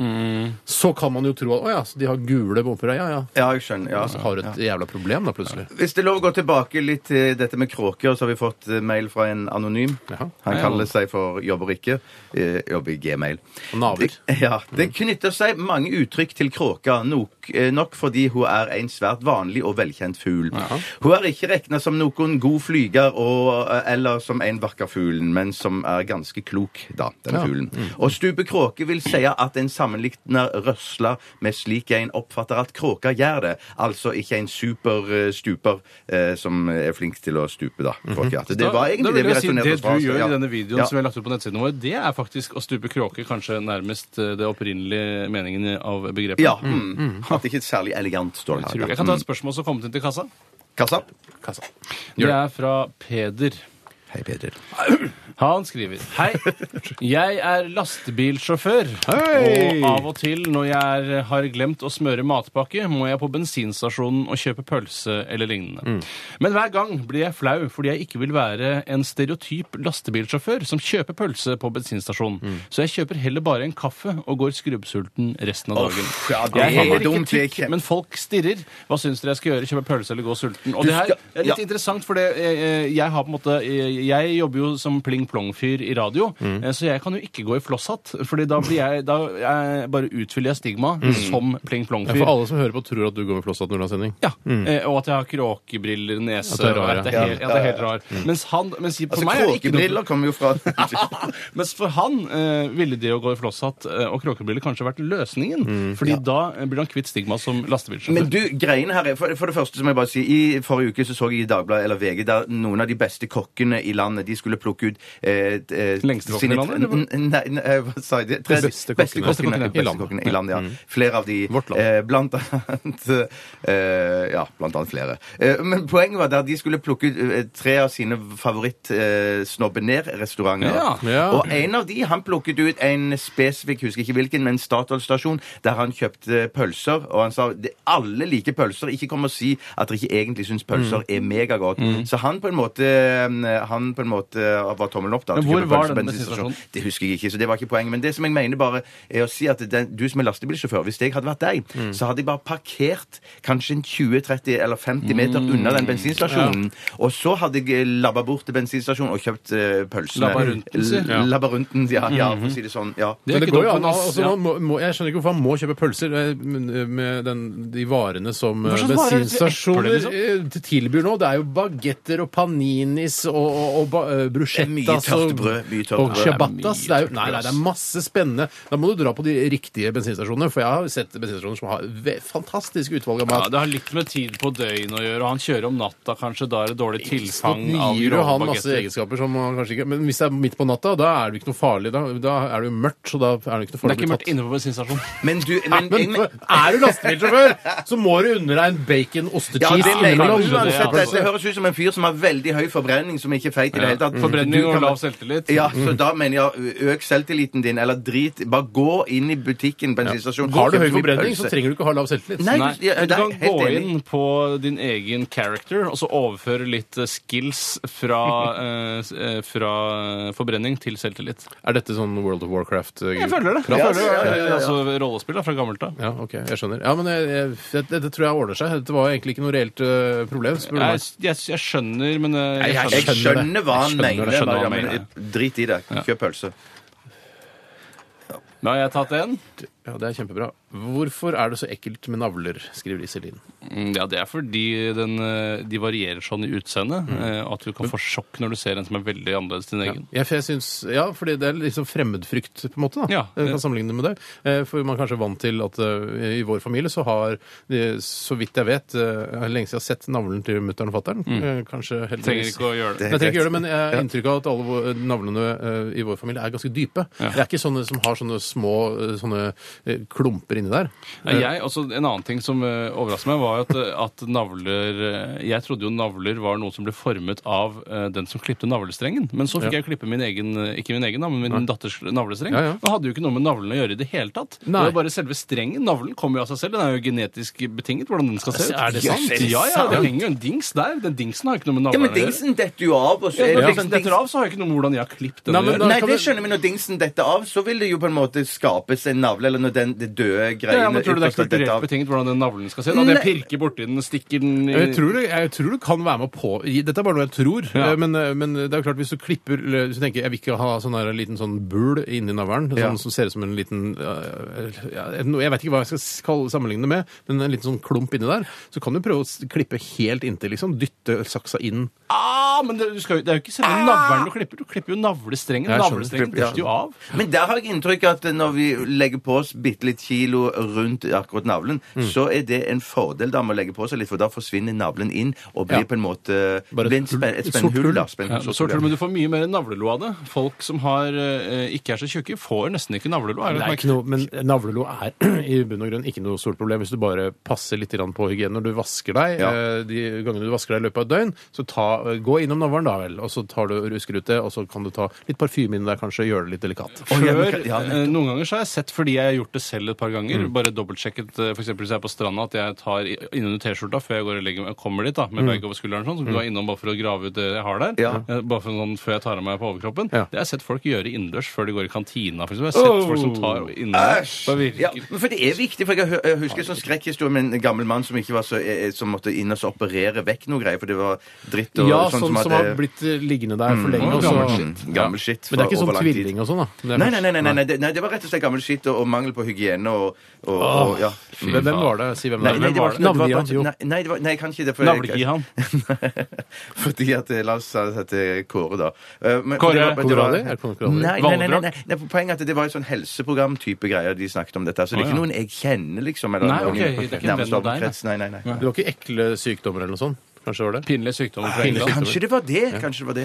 så kan man jo tro at å ja, så de har gule pumper. Ja, ja. ja, jeg skjønner. Ja. Altså, Så har du et jævla problem da, plutselig. Hvis det er lov å gå tilbake litt til dette med kråker, så har vi fått eh, mail fra en anonym. Jaha. Han kaller seg for Jobber ikke. Eh, jobber jobber i Gmail. Naver. Det, ja, det knytter seg mange uttrykk til kråka, nok, eh, nok fordi hun er en svært vanlig og velkjent fugl. Hun er ikke regna som noen god flyger og, eh, eller som en vakker fugl, men som er ganske klok, da, den fuglen. Mm. Og Stupe kråke vil si at en sammenligner røsla med slik en oppfatter at kråka gjør det, altså ikke en super eh, stuper eh, som er flink til å stupe, da. Kråke. At Det var egentlig Mhm. da det vil vi jeg si, resonnerte det oss du fra. gjør ja. i denne videoen Ja. som vi har lagt ut på nettsidene våre, det er faktisk å stupe kråke, kanskje nærmest eh, det opprinnelige meningen av begrepet. Ja. Mm. At det ikke er særlig elegant, står det Tror her. jeg. jeg kan ta et spørsmål som kom inn til kassa. Kassapp? Kassa. Det er fra Peder. Hei, Peder. Han skriver Hei, jeg er lastebilsjåfør. Hei! Og av og til når jeg er, har glemt å smøre matpakke, må jeg på bensinstasjonen og kjøpe pølse eller lignende. Men hver gang blir jeg flau fordi jeg ikke vil være en stereotyp lastebilsjåfør som kjøper pølse på bensinstasjonen. Så jeg kjøper heller bare en kaffe og går skrubbsulten resten av dagen. ja, det jeg er er heller ikke dumt, det er tykk, kjempe- men folk stirrer. Hva syns dere jeg skal gjøre? Kjøpe pølse eller gå sulten? Og det her skal- er litt ja. interessant, for det, eh, jeg har på en måte eh, Jeg jobber jo som pling-plong-fyr i radio, eh, så jeg kan jo ikke gå i flosshatt. Fordi da blir jeg Da eh, bare utfyller jeg stigma som Ja, for pling-plong-fyr. alle som hører på, tror at du går med flosshatt når du har sending. Ja, eh, Og at jeg har kråkebriller, nese At du er rar, og at det ja. er helt, ja, det er helt rar. Mens han mens for Altså, meg er det ikke noe Kråkebriller kommer jo fra <laughs> Mens for han eh, ville det å gå i flosshatt eh, og kråkebriller kanskje vært løsningen. fordi da eh, blir han kvitt stigma som lastebilsjåfør. Men du, greiene her er, for, for det første så må jeg bare si I forrige uke så så jeg i Dagbladet eller VG der noen av de beste kokkene i landet De skulle plukke ut eh, eh, Lengste kokken sine- i landet, eller? N- Nei, nei, eh, hva sa jeg? De tre- De beste beste kokkene, kokkene. Beste kokkene i beste landet. Mm. kokkene i landet. Ja. Flere av de Vårt land. Eh, blant annet <laughs> eh, Ja, blant annet flere. Eh, men poenget var der de skulle plukke ut eh, tre av sine eh, favoritt-snobbener-restauranter. Ja. Ja. Og en av de, han plukket ut en spesifikk, husker ikke hvilken, men Statoil-stasjon, der han kjøpte pølser, og han sa "Det- alle liker pølser, ikke kom og si at dere ikke egentlig syns pølser Mm. er megagodt. Så han på en måte eh, han på en måte eh, var tommelen opp da. Men til å hvor kjøpe var pølser på denne bensinstasjonen. bensinstasjonen? Det husker jeg ikke, så det var ikke poenget. Men det som jeg mener bare er å si at den, du som er lastebilsjåfør, hvis jeg hadde vært deg, så hadde jeg bare parkert kanskje en 20-30 eller 50 meter unna den bensinstasjonen, og så hadde jeg labba bort til bensinstasjonen og kjøpt eh, pølsene. Labba rundt den, sier L- Labyrinten, ja, ja, for å si det sånn. Ja. er Men det ikke går jo dumt, an. men ass- Altså, ja. man må, må, jeg skjønner ikke hvorfor han må kjøpe pølser eh, men- med den, de varene som eh, Hva slags varer? bensinstasjoner Epler, eh, tilbyr nå. Det er jo bagetter og paninis og, og, og ba- eh, bruschettas Det er mye tørt og- brød, mye tørt brød. og ciabattas. Det Det er mye er jo, tørt nei, nei, brød, det ass. er masse spennende. Da må du dra på de riktige bensinstasjonene, for jeg har sett bensinstasjoner som har ve- fantastisk utvalg av Ja, mat. Det har litt med tid på døgnet å gjøre. og Han kjører om natta, kanskje. Da er det dårlig Så tilfang av gir jo grove han masse bagetter. egenskaper som han kanskje ikke Men hvis det er midt på natta, da er det jo ikke noe farlig. Da, da er det jo mørkt, så da er det ikke noe Det farlig er ikke mørkt inne på bensinstasjonen. Men du Men, men, jeg- er du lastebilsjåfør, så må du unne deg en bacon ja, ostecheese det Ja, mener innimellom. jeg. Uansett, det er- dette høres ut som en fyr som har veldig høy forbrenning, som ikke er feit i det hele tatt. Forbrenning Mm. Du og kan- lav selvtillit. Ja, så da mener jeg ø- øk selvtilliten din, eller drit. Bare gå inn i butikken, bensinstasjonen Har du høy kjøp mye forbrenning, så pølse. trenger du ikke ha lav selvtillit. Nei, Nei, du- ja, men du det er kan jeg gå helt enig. inn på din egen character og så overføre litt eh, skills fra, eh, s- eh, fra forbrenning til selvtillit. Er dette sånn World of Warcraft? eh, Jeg føler det. kraft? Jeg føler det. ja, ja, ja. Altså rollespill da, fra gammelt av. Ja, ok, jeg skjønner. Ja, men jeg, jeg, dette- dette tror jeg ordner seg. Dette var egentlig ikke noe reelt eh, problem. spør du meg. Jeg, jeg, jeg skjønner, men eh, Nei, jeg jeg Jeg skjønner. skjønner hva han Jeg skjønner- jeg mener, skjønner hva Maria, han men mener. drit i det. Kjøp pølse. Da har jeg tatt en. Ja, det er kjempebra. Hvorfor er det så ekkelt med navler, skriver Iselin. Mm, Ja, det er fordi den, eh, de varierer sånn i utseendet eh, at du kan få sjokk når du ser en som er veldig annerledes til din egen. Mm. Ja, for jeg syns, ja, fordi det er liksom fremmedfrykt, på en måte. da. Ja. Jeg kan sammenligne det med det. Eh, For man er kanskje vant til at eh, i vår familie så har, de, så vidt jeg vet, eh, lenge siden jeg har sett navlen til mutter'n og fatter'n. Eh, Kanskje Mm. Trenger heldigvis ikke å gjøre det. Nei, Jeg trenger ikke gjøre det, men jeg har inntrykk av at alle våre- navlene eh, i vår familie er ganske dype. Det er ikke sånne som har sånne små eh, sånne eh, klumper inni der. Nei, Jeg, også, en annen ting som eh, overrasket meg, var jo at, at navler eh, Jeg trodde jo navler var noe som ble formet av eh, den som klipte navlestrengen. Men så fikk jeg klippe min egen, eh, ikke min egen, da, men min datters navlestreng. Ja, ja. Og hadde jo ikke noe med navlen å gjøre i det hele tatt. Det Nei. var bare selve strengen. Navlen kommer jo av seg selv. Den er jo genetisk betinget hvordan den skal se ut. Er det sant? Ja, ja. Det henger jo en dings der. Den dingsen har jo ikke noe med Ja, men navlen å gjøre. dingsen detter jo av, og så Ja, er Når det dingsen liksom dings- detter av, så har jeg ikke noe med hvordan jeg har klippet den. Nei, å men gjøre. da Nei, kan det du- skjønner vi. Når dingsen detter av, så vil det jo på en måte skapes en navle eller når den, det døde greiene Ja, men tror du det er ytterst har dette kulturelt av- betinget hvordan den navlen skal se? Da, det Nei. pirker borti den, stikker den i Jeg tror, det, jeg tror det kan være med på Dette er bare noe jeg tror. Ja. eh, Men, eh, men det er jo klart, hvis du klipper eller Hvis du tenker jeg vil ikke ha sånn her liten sånn bul inni navlen, sånn Ja. som ser ut som en liten eh, ja, noe- Jeg vet ikke hva jeg skal s- kalle, sammenligne det med, men en liten sånn klump inni der, så kan du prøve å s- klippe helt inntil, liksom. Dytte saksa inn. Ah, men det, du skal, jo- det er jo ikke selve navlen du klipper. Du klipper jo navlestrengen. Jeg skjønner. Navlestrengen Ja. detter jo av. Men der har jeg inntrykk av at når vi legger på oss bitte litt kilo rundt akkurat navlen, Mm. så er det en fordel da med å legge på seg litt, for da forsvinner navlen inn og blir Ja. på en måte Bare et blir en hull- spen, et et sort spennhull. hull. da. Spenn- Ja, sort så hull, tror du, ja. men du får mye mer navlelo av det. Folk som har, eh, ikke er så tjukke, får nesten ikke navlelo. Er det Det er et ikke noe, men navlelo er <clears throat> i bunn og grunn ikke noe stort problem hvis du bare passer litt grann på hygienen når du vasker deg. Ja. eh, De gangene du vasker deg i løpet av et døgn, så ta, eh, gå innom navlen da vel, og så tar du rusker ut det, og så kan du ta litt parfyme inni deg kanskje, gjøre det litt delikat. Før, ja, men- ja, Mm. eh, Noen ganger så har jeg sett, fordi jeg har gjort det selv et par ganger, bare dobbeltsjekket eh, for eksempel hvis jeg er på stranda, at jeg tar i- innunder T-skjorta før jeg går og legger meg, kommer dit da, med bag over skulderen sånn, så går jeg innom bare for å grave ut det jeg har der, Mm. Ja. eh, bare for sånn før jeg tar av meg på overkroppen. Ja. Det har jeg sett folk gjøre innendørs før de går i kantina, for eksempel. Jeg har sett folk som tar innendørs. Bare Ja, virker. men for det er viktig, for jeg, hø- jeg husker en sånn skrekkhistorie med en gammel mann som ikke var så, eh, som måtte inn og så operere vekk noe greier, for det var dritt og Ja, sånn sånn som hadde- har blitt eh, liggende der for lenge. Mm, og så- gammel Mm, gammel skitt. Men det er ikke fra sånn over lang tid. tvilling og sånn, da. Det er Nei, nei, først- nei, nei, nei, det- nei, det var rett og slett gammel skitt og, og mangel på hygiene og, og, og ja. Hvem hvem var det? Si hvem det Nei, er. nei, det var, det var Navnet, bare, ja, jo. nei, nei, det var, nei, jeg kan ikke det. for- Navlegi han. <laughs> Fordi at eh, La oss si at det er Kåre, da. Eh, men- Kåre det var- det var- Conradi? Er det Kåre Conradi? Nei, nei, nei, nei, nei. Valdraak? Nei, Poenget er at det var et sånn helseprogram-type greier de snakket om dette. Så det er Å, ikke ja. noen jeg kjenner, liksom. Eller Nei, noen ok, i det er ikke en nærmeste venn av deg, omkrets. Nei, nei, nei. Det var ikke ekle sykdommer eller noe sånt? Kanskje det var det? Pinlige sykdommer fra Pinlige England. Kanskje det var det. Kanskje det var det.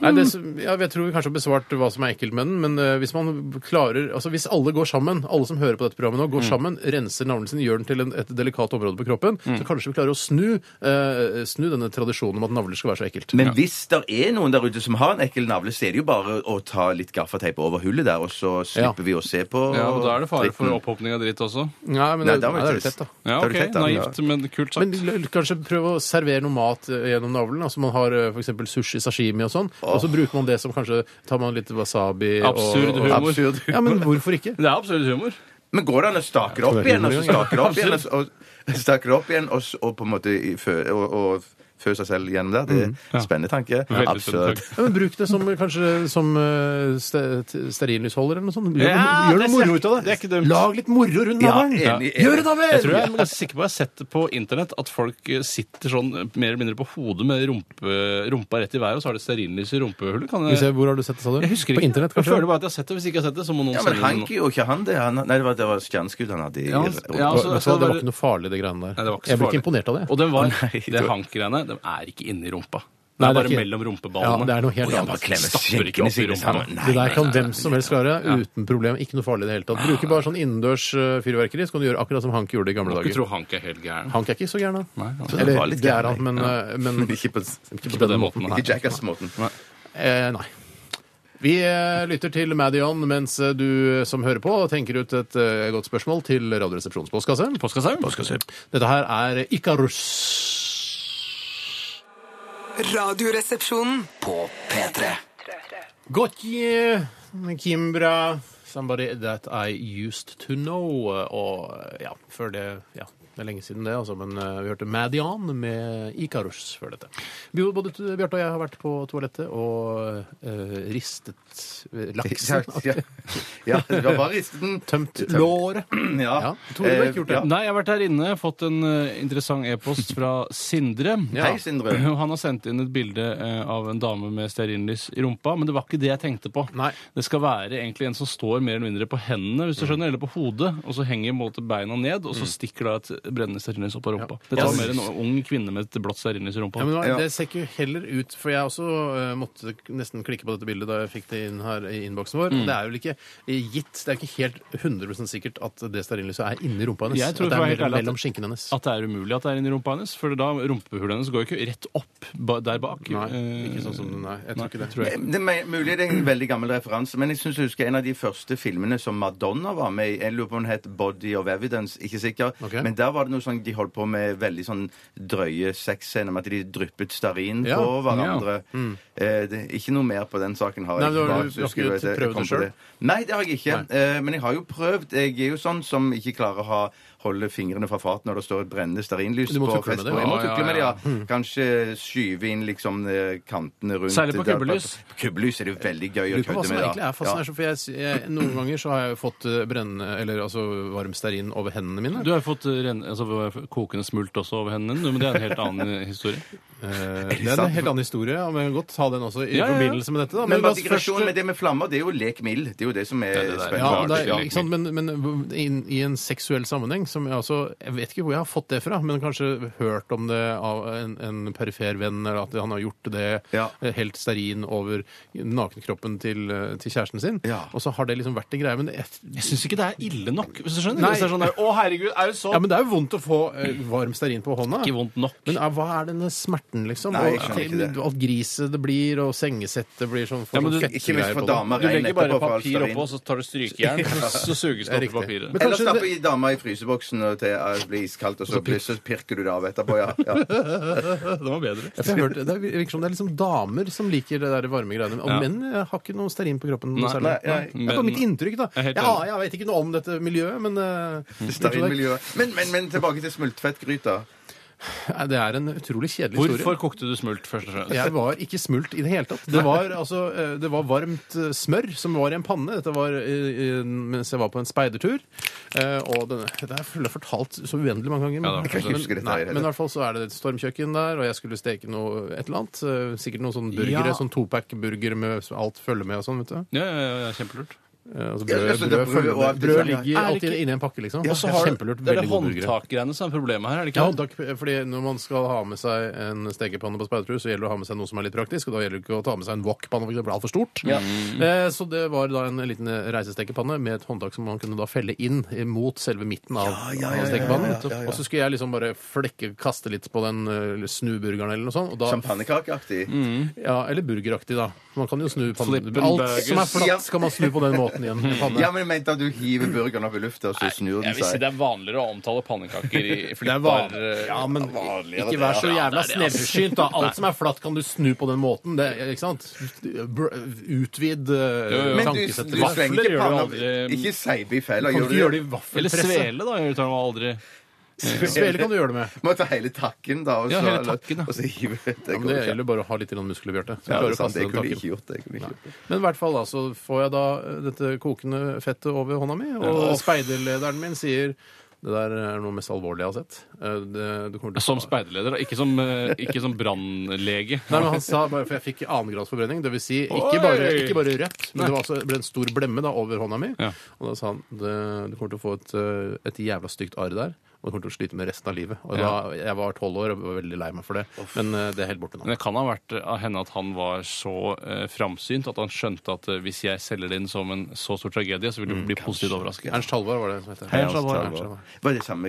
Nei, det, som- ja, jeg tror vi kanskje har besvart hva som er ekkelt med den, men eh, hvis man klarer Altså hvis alle går sammen, alle som hører på dette programmet nå, går sammen, renser navlen sin, gjør den til en, et delikat område på kroppen, så kanskje vi klarer å snu, eh, snu denne tradisjonen om at navler skal være så ekkelt. Men hvis det er noen der ute som har en ekkel navle, så er det jo bare å ta litt gaffateip over hullet der, og så slipper Ja. vi å se på Ja, og da er det fare for dritten. opphopning av dritt også. Nei, men Nei, det, da var nei, det er det litt tett, da. Da Ja, er ok, du tett, da. naivt, men kult Men sagt. l- l- kanskje prøve å servere noe mat eh, gjennom navlen. altså Man har f.eks. sushi, sashimi og sånn. Og så bruker man det som kanskje Tar man litt wasabi Absurd og, og humor. Absurd. Ja, men hvorfor ikke? Det er absolutt humor. Men går det an å stake det opp det er igjen, og så humor, ja. stake det opp igjen, og, så- og stake det opp igjen, og, så- og på en måte i- fø, og, og fø seg selv gjennom der? Det Mm, er spennende tanke. Veldig Absurd. spennende. Ja, men Bruk det som kanskje som eh, ste- t- stearinlysholder eller noe sånt. Gjør, Ja, noe- gjør noe det er moro kjempe- ut av det. det er ikke dumt. Lag litt moro rundt Ja, navlen. enig, enig. Gjør det, da vel! Jeg tror jeg er ganske sikker på jeg har sett det på internett, at folk eh, sitter sånn eh, mer eller mindre på hodet med rumpe, rumpa rett i været, og så har de stearinlys i rumpehullet. Kan Skal vi se, jeg, Hvor har du sett det, sa du? jeg husker På ikke. internett, jeg kanskje? føler bare at jeg har sett det. Hvis ikke jeg har sett det, så må noen Ja, men sende han det. gjorde ikke han det. Han, nei, det var, det var Skanskut han hadde i Ja, ja, Vet du altså, hva, altså, det var ikke noe farlig, det greiene der. Nei, det var ikke så jeg ble farlig. ikke imponert av det. Og den var, Å, nei, det du- hank-greiene, de er ikke inni rumpa. Det Nei, er det er bare ikke- mellom Ja, rumpeballene. det er noe helt Han annet. bare klemmer Stapper ikke skinkene opp i sine rumpa. sammen. Det der Nei, kan hvem som helst klare uten problem. Ikke noe farlig i det hele tatt. Bruker bare sånn innendørs eh, fyrverkeri, så kan du gjøre akkurat som Hank gjorde i gamle Du dager. tror hank er helt gæren. Hank er ikke så gæren, da. Nei, altså, han- Han var Eller litt det er gæren, han, men, eh, <laughs> men ikke på, ikke på den måten. her. ikke Jackass-måten. Eh, nei. Vi eh, lytter til Madion mens eh, du som hører på, tenker ut et eh, godt spørsmål til Radioresepsjonens postkasse. Påskasaum? Dette her er Ikarus. Radioresepsjonen. På P3 Gotje, eh, Kimbra, somebody that I used to know. Og eh, ja, før det ja. Det er lenge siden det, altså, men eh, vi hørte Madian med Ikarus før dette. Vi- Både t- Bjarte og jeg har vært på toalettet og eh, ristet eh, laksen. <laughs> Ja, ja, det var bare risten. Tømt låret. Ja. Ja, Tore, du har ikke gjort det. Eh, ja. Nei, jeg har vært her inne, fått en eh, interessant e-post fra Sindre. Hei, Sindre. Og <laughs> Han har sendt inn et bilde eh, av en dame med stearinlys i rumpa, men det var ikke det jeg tenkte på. Nei. Mm. Det skal være egentlig en som står mer eller mindre på hendene, hvis du skjønner, eller på hodet, og så henger på en måte beina ned, og så stikker da et brennende stearinlys opp av rumpa. Det tar mer en ung kvinne med et blått stearinlys i Ja, rumpa. men hva- Ja. Det ser ikke heller ut, for jeg også eh, måtte nesten klikke på dette bildet da jeg fikk det inn her i innboksen vår. Det er vel ikke eh, gitt, det er ikke helt 100 sikkert at det stearinlyset er inni rumpa hennes. Jeg tror at det er for å være helt mellom, ærlig at- mellom skinkene hennes. At det er umulig at det er inni rumpa hennes, for da rumpehullet hennes går jo ikke rett opp ba, der bak. Nei, Eh, ikke sånn som den er. Jeg tror ikke det. tror jeg. Det er me- mulig det er en veldig gammel referanse, men jeg synes jeg husker en av de første filmene som Madonna var med i. Jeg lurer på om den het Body of Evidence, ikke sikker. Ok. Men der var det noe sånn de holdt på med veldig sånn drøye sexscener med at de dryppet stearin Ja, Mm. på hverandre. Eh, det, ikke noe mer på den saken har Nei, jeg men ikke. har bare du- så husker har ikke jeg at jeg prøvd det kom på selv? Nei, det har jeg ikke. Eh, men jeg har jo prøvd. Jeg er jo sånn som ikke klarer å ha holde fingrene fra fatet når det står et brennende stearinlys Du må på tukle med det. festbordet. Jeg må Ja, ja, tukle med det, ja. ja. Hmm. Kanskje skyve inn liksom eh, kantene rundt. Særlig på der- kubbelys. Kubbelys er det jo veldig gøy å Lurer på hva kødde som med. da. egentlig er fascinasjon, for jeg, jeg, noen ganger så har jeg jo fått eh, brennende, eller altså varm stearin over hendene mine. Du har jo fått eh, ren, altså, kokende smult også over hendene, du, men det er en helt annen eh, historie. Eh, det er en helt annen historie, ja, men vi kan godt ta den også i Ja, ja, ja. forbindelse med dette. da. Men la oss mastikrasjon først- eh, med det med flammer, det er jo lek mild. Det er jo det som er det der. spennende. Ja, men, det Ja, er, ikke sant? men, men i, i en seksuell sammenheng som jeg også Jeg vet ikke hvor jeg har fått det fra, men kanskje hørt om det av en, en perifer venn, eller at han har gjort det Ja. eh, helt stearin over nakenkroppen til, eh, til kjæresten sin. Ja. Og så har det liksom vært en greie. Men det, er- Jeg syns ikke det er ille nok. hvis du skjønner. Nei. Hvis det er sånn der, Å, herregud, er det så ja, men det er jo vondt å få eh, varm stearin på hånda. ikke vondt nok? Men eh, hva er denne smerten, liksom? Nei, jeg og, skjønner ikke det. Alt griset det blir, og sengesettet blir sånn får Ja, men sånn du- fettegreier Ikke minst for på det. damer. Du regn legger bare etterpå for all papir stearin. oppå, så tar du <laughs> strykejern, så suges Det det er opp i riktig. papiret. Men Eller kanskje stappe det, i dama i fryseboksen og til eh, det blir iskaldt, og så, blir- så pirker du det av etterpå. Ja. <laughs> ja. Det var bedre. Ja, for jeg har hørt, det virker som det er liksom damer som liker det der varme greiene. Og Ja. menn eh, har ikke noe stearin på kroppen. noe Nei, særlig. nei, nei. Det er bare mitt inntrykk, da. Jeg er helt Jeg, enig. jeg vet ikke noe om dette miljøet, men eh, Stearinmiljøet. Men, men, men tilbake til smultfettgryta. Nei, det er en utrolig kjedelig Hvorfor historie. kokte du smult først og fremst? Jeg var ikke smult i det hele tatt. Det var, altså, eh, det var varmt eh, smør som var i en panne. Dette var eh, i- mens jeg var på en speidertur. Eh, Og denne, dette har jeg full- fortalt så uendelig mange ganger. Ja, det har jeg ikke men, husket dette nei, her heller. men i hvert fall så er det et stormkjøkken der, og jeg skulle steke noe et eller annet. eh, Sikkert noen sånn burgere, Ja. sånn topack-burger med alt følger med og sånn, vet du. Ja, ja, ja, ja, kjempelurt. Eh, Altså Ja, brød, altså, brød, det er brød følger med. og- brød Ja, ja. ligger Er det alltid ikke- inne i en pakke, liksom. Og så har du Kjempelurt. det er det veldig gode burgere. håndtakgreiene som er problemet her, er det Ja, ikke det? takk, fordi når man skal ha med seg en stekepanne på speidertur, så gjelder det å ha med seg noe som er litt praktisk, og da gjelder det ikke å ta med seg en wok-panne, for det blir altfor stort. Mm. Eh, Så det var da en liten reisestekepanne med et håndtak som man kunne da felle inn mot selve midten av av stekepannen. Og så skulle jeg liksom bare flekke, kaste litt på den eh, snuburgeren eller noe sånt, og da Som pannekakeaktig. Mm. Ja, eller burgeraktig, da. Man kan jo snu pannen. Flippen Alt burgers. som er Ja. flatt, skal man snu på den måten i <laughs> en panne. Ja, men jeg mente at du hiver burgeren opp i lufta, og så snur den seg. det er vanligere å omtale pannekaker i <laughs> eh, Det er van- ja, men ikke vær så jævla sneversynt, da. Alt som er flatt, kan du snu på den måten. Det, ikke sant? Br- Utvid eh, Men du, du tankesettet. Vafler slenger ikke gjør du panna aldri. Ikke seigbiff heller. Kan gjør du du ikke gjøre det det? i Eller vaffelpresse? svele, da. Jeg tar meg aldri. Svele kan du gjøre det med. <laughs> Må ta hele takken, da. Og så, Ja, hele takken, ja. og så hive det. Ja, men det gjelder bare å ha litt grann muskler, Bjarte. så Ja, det er klarer du å sant. Jeg kaste den kunne takken. ikke gjort det. Jeg kunne ikke gjort det. Men i hvert fall da, så får jeg da eh, dette kokende fettet over hånda mi, og speiderlederen min sier det der er noe mest alvorlige jeg har sett. Eh, Det, du kommer til å- Som speiderleder, da. Ikke som, eh, ikke som brannlege. Nei, men han sa bare, for jeg fikk annengradsforbrenning. Det vil si, ikke bare, Oi! ikke bare rødt, men det var altså, det ble en stor blemme da, over hånda mi. Ja. Og da sa han det, du kommer til å få et, eh, et jævla stygt arr der, og du kommer til å slite med resten av livet. Og Ja. da, jeg var tolv år og var veldig lei meg for det, men eh, det er helt borte nå. Men det kan ha vært eh, av henne at han var så eh, framsynt at han skjønte at eh, hvis jeg selger det inn som en så stor tragedie, så vil Mm, du bli positivt overrasket. Ernst Halvor var det som het. Ernst Halvor, Ernst Halvor. Var det samme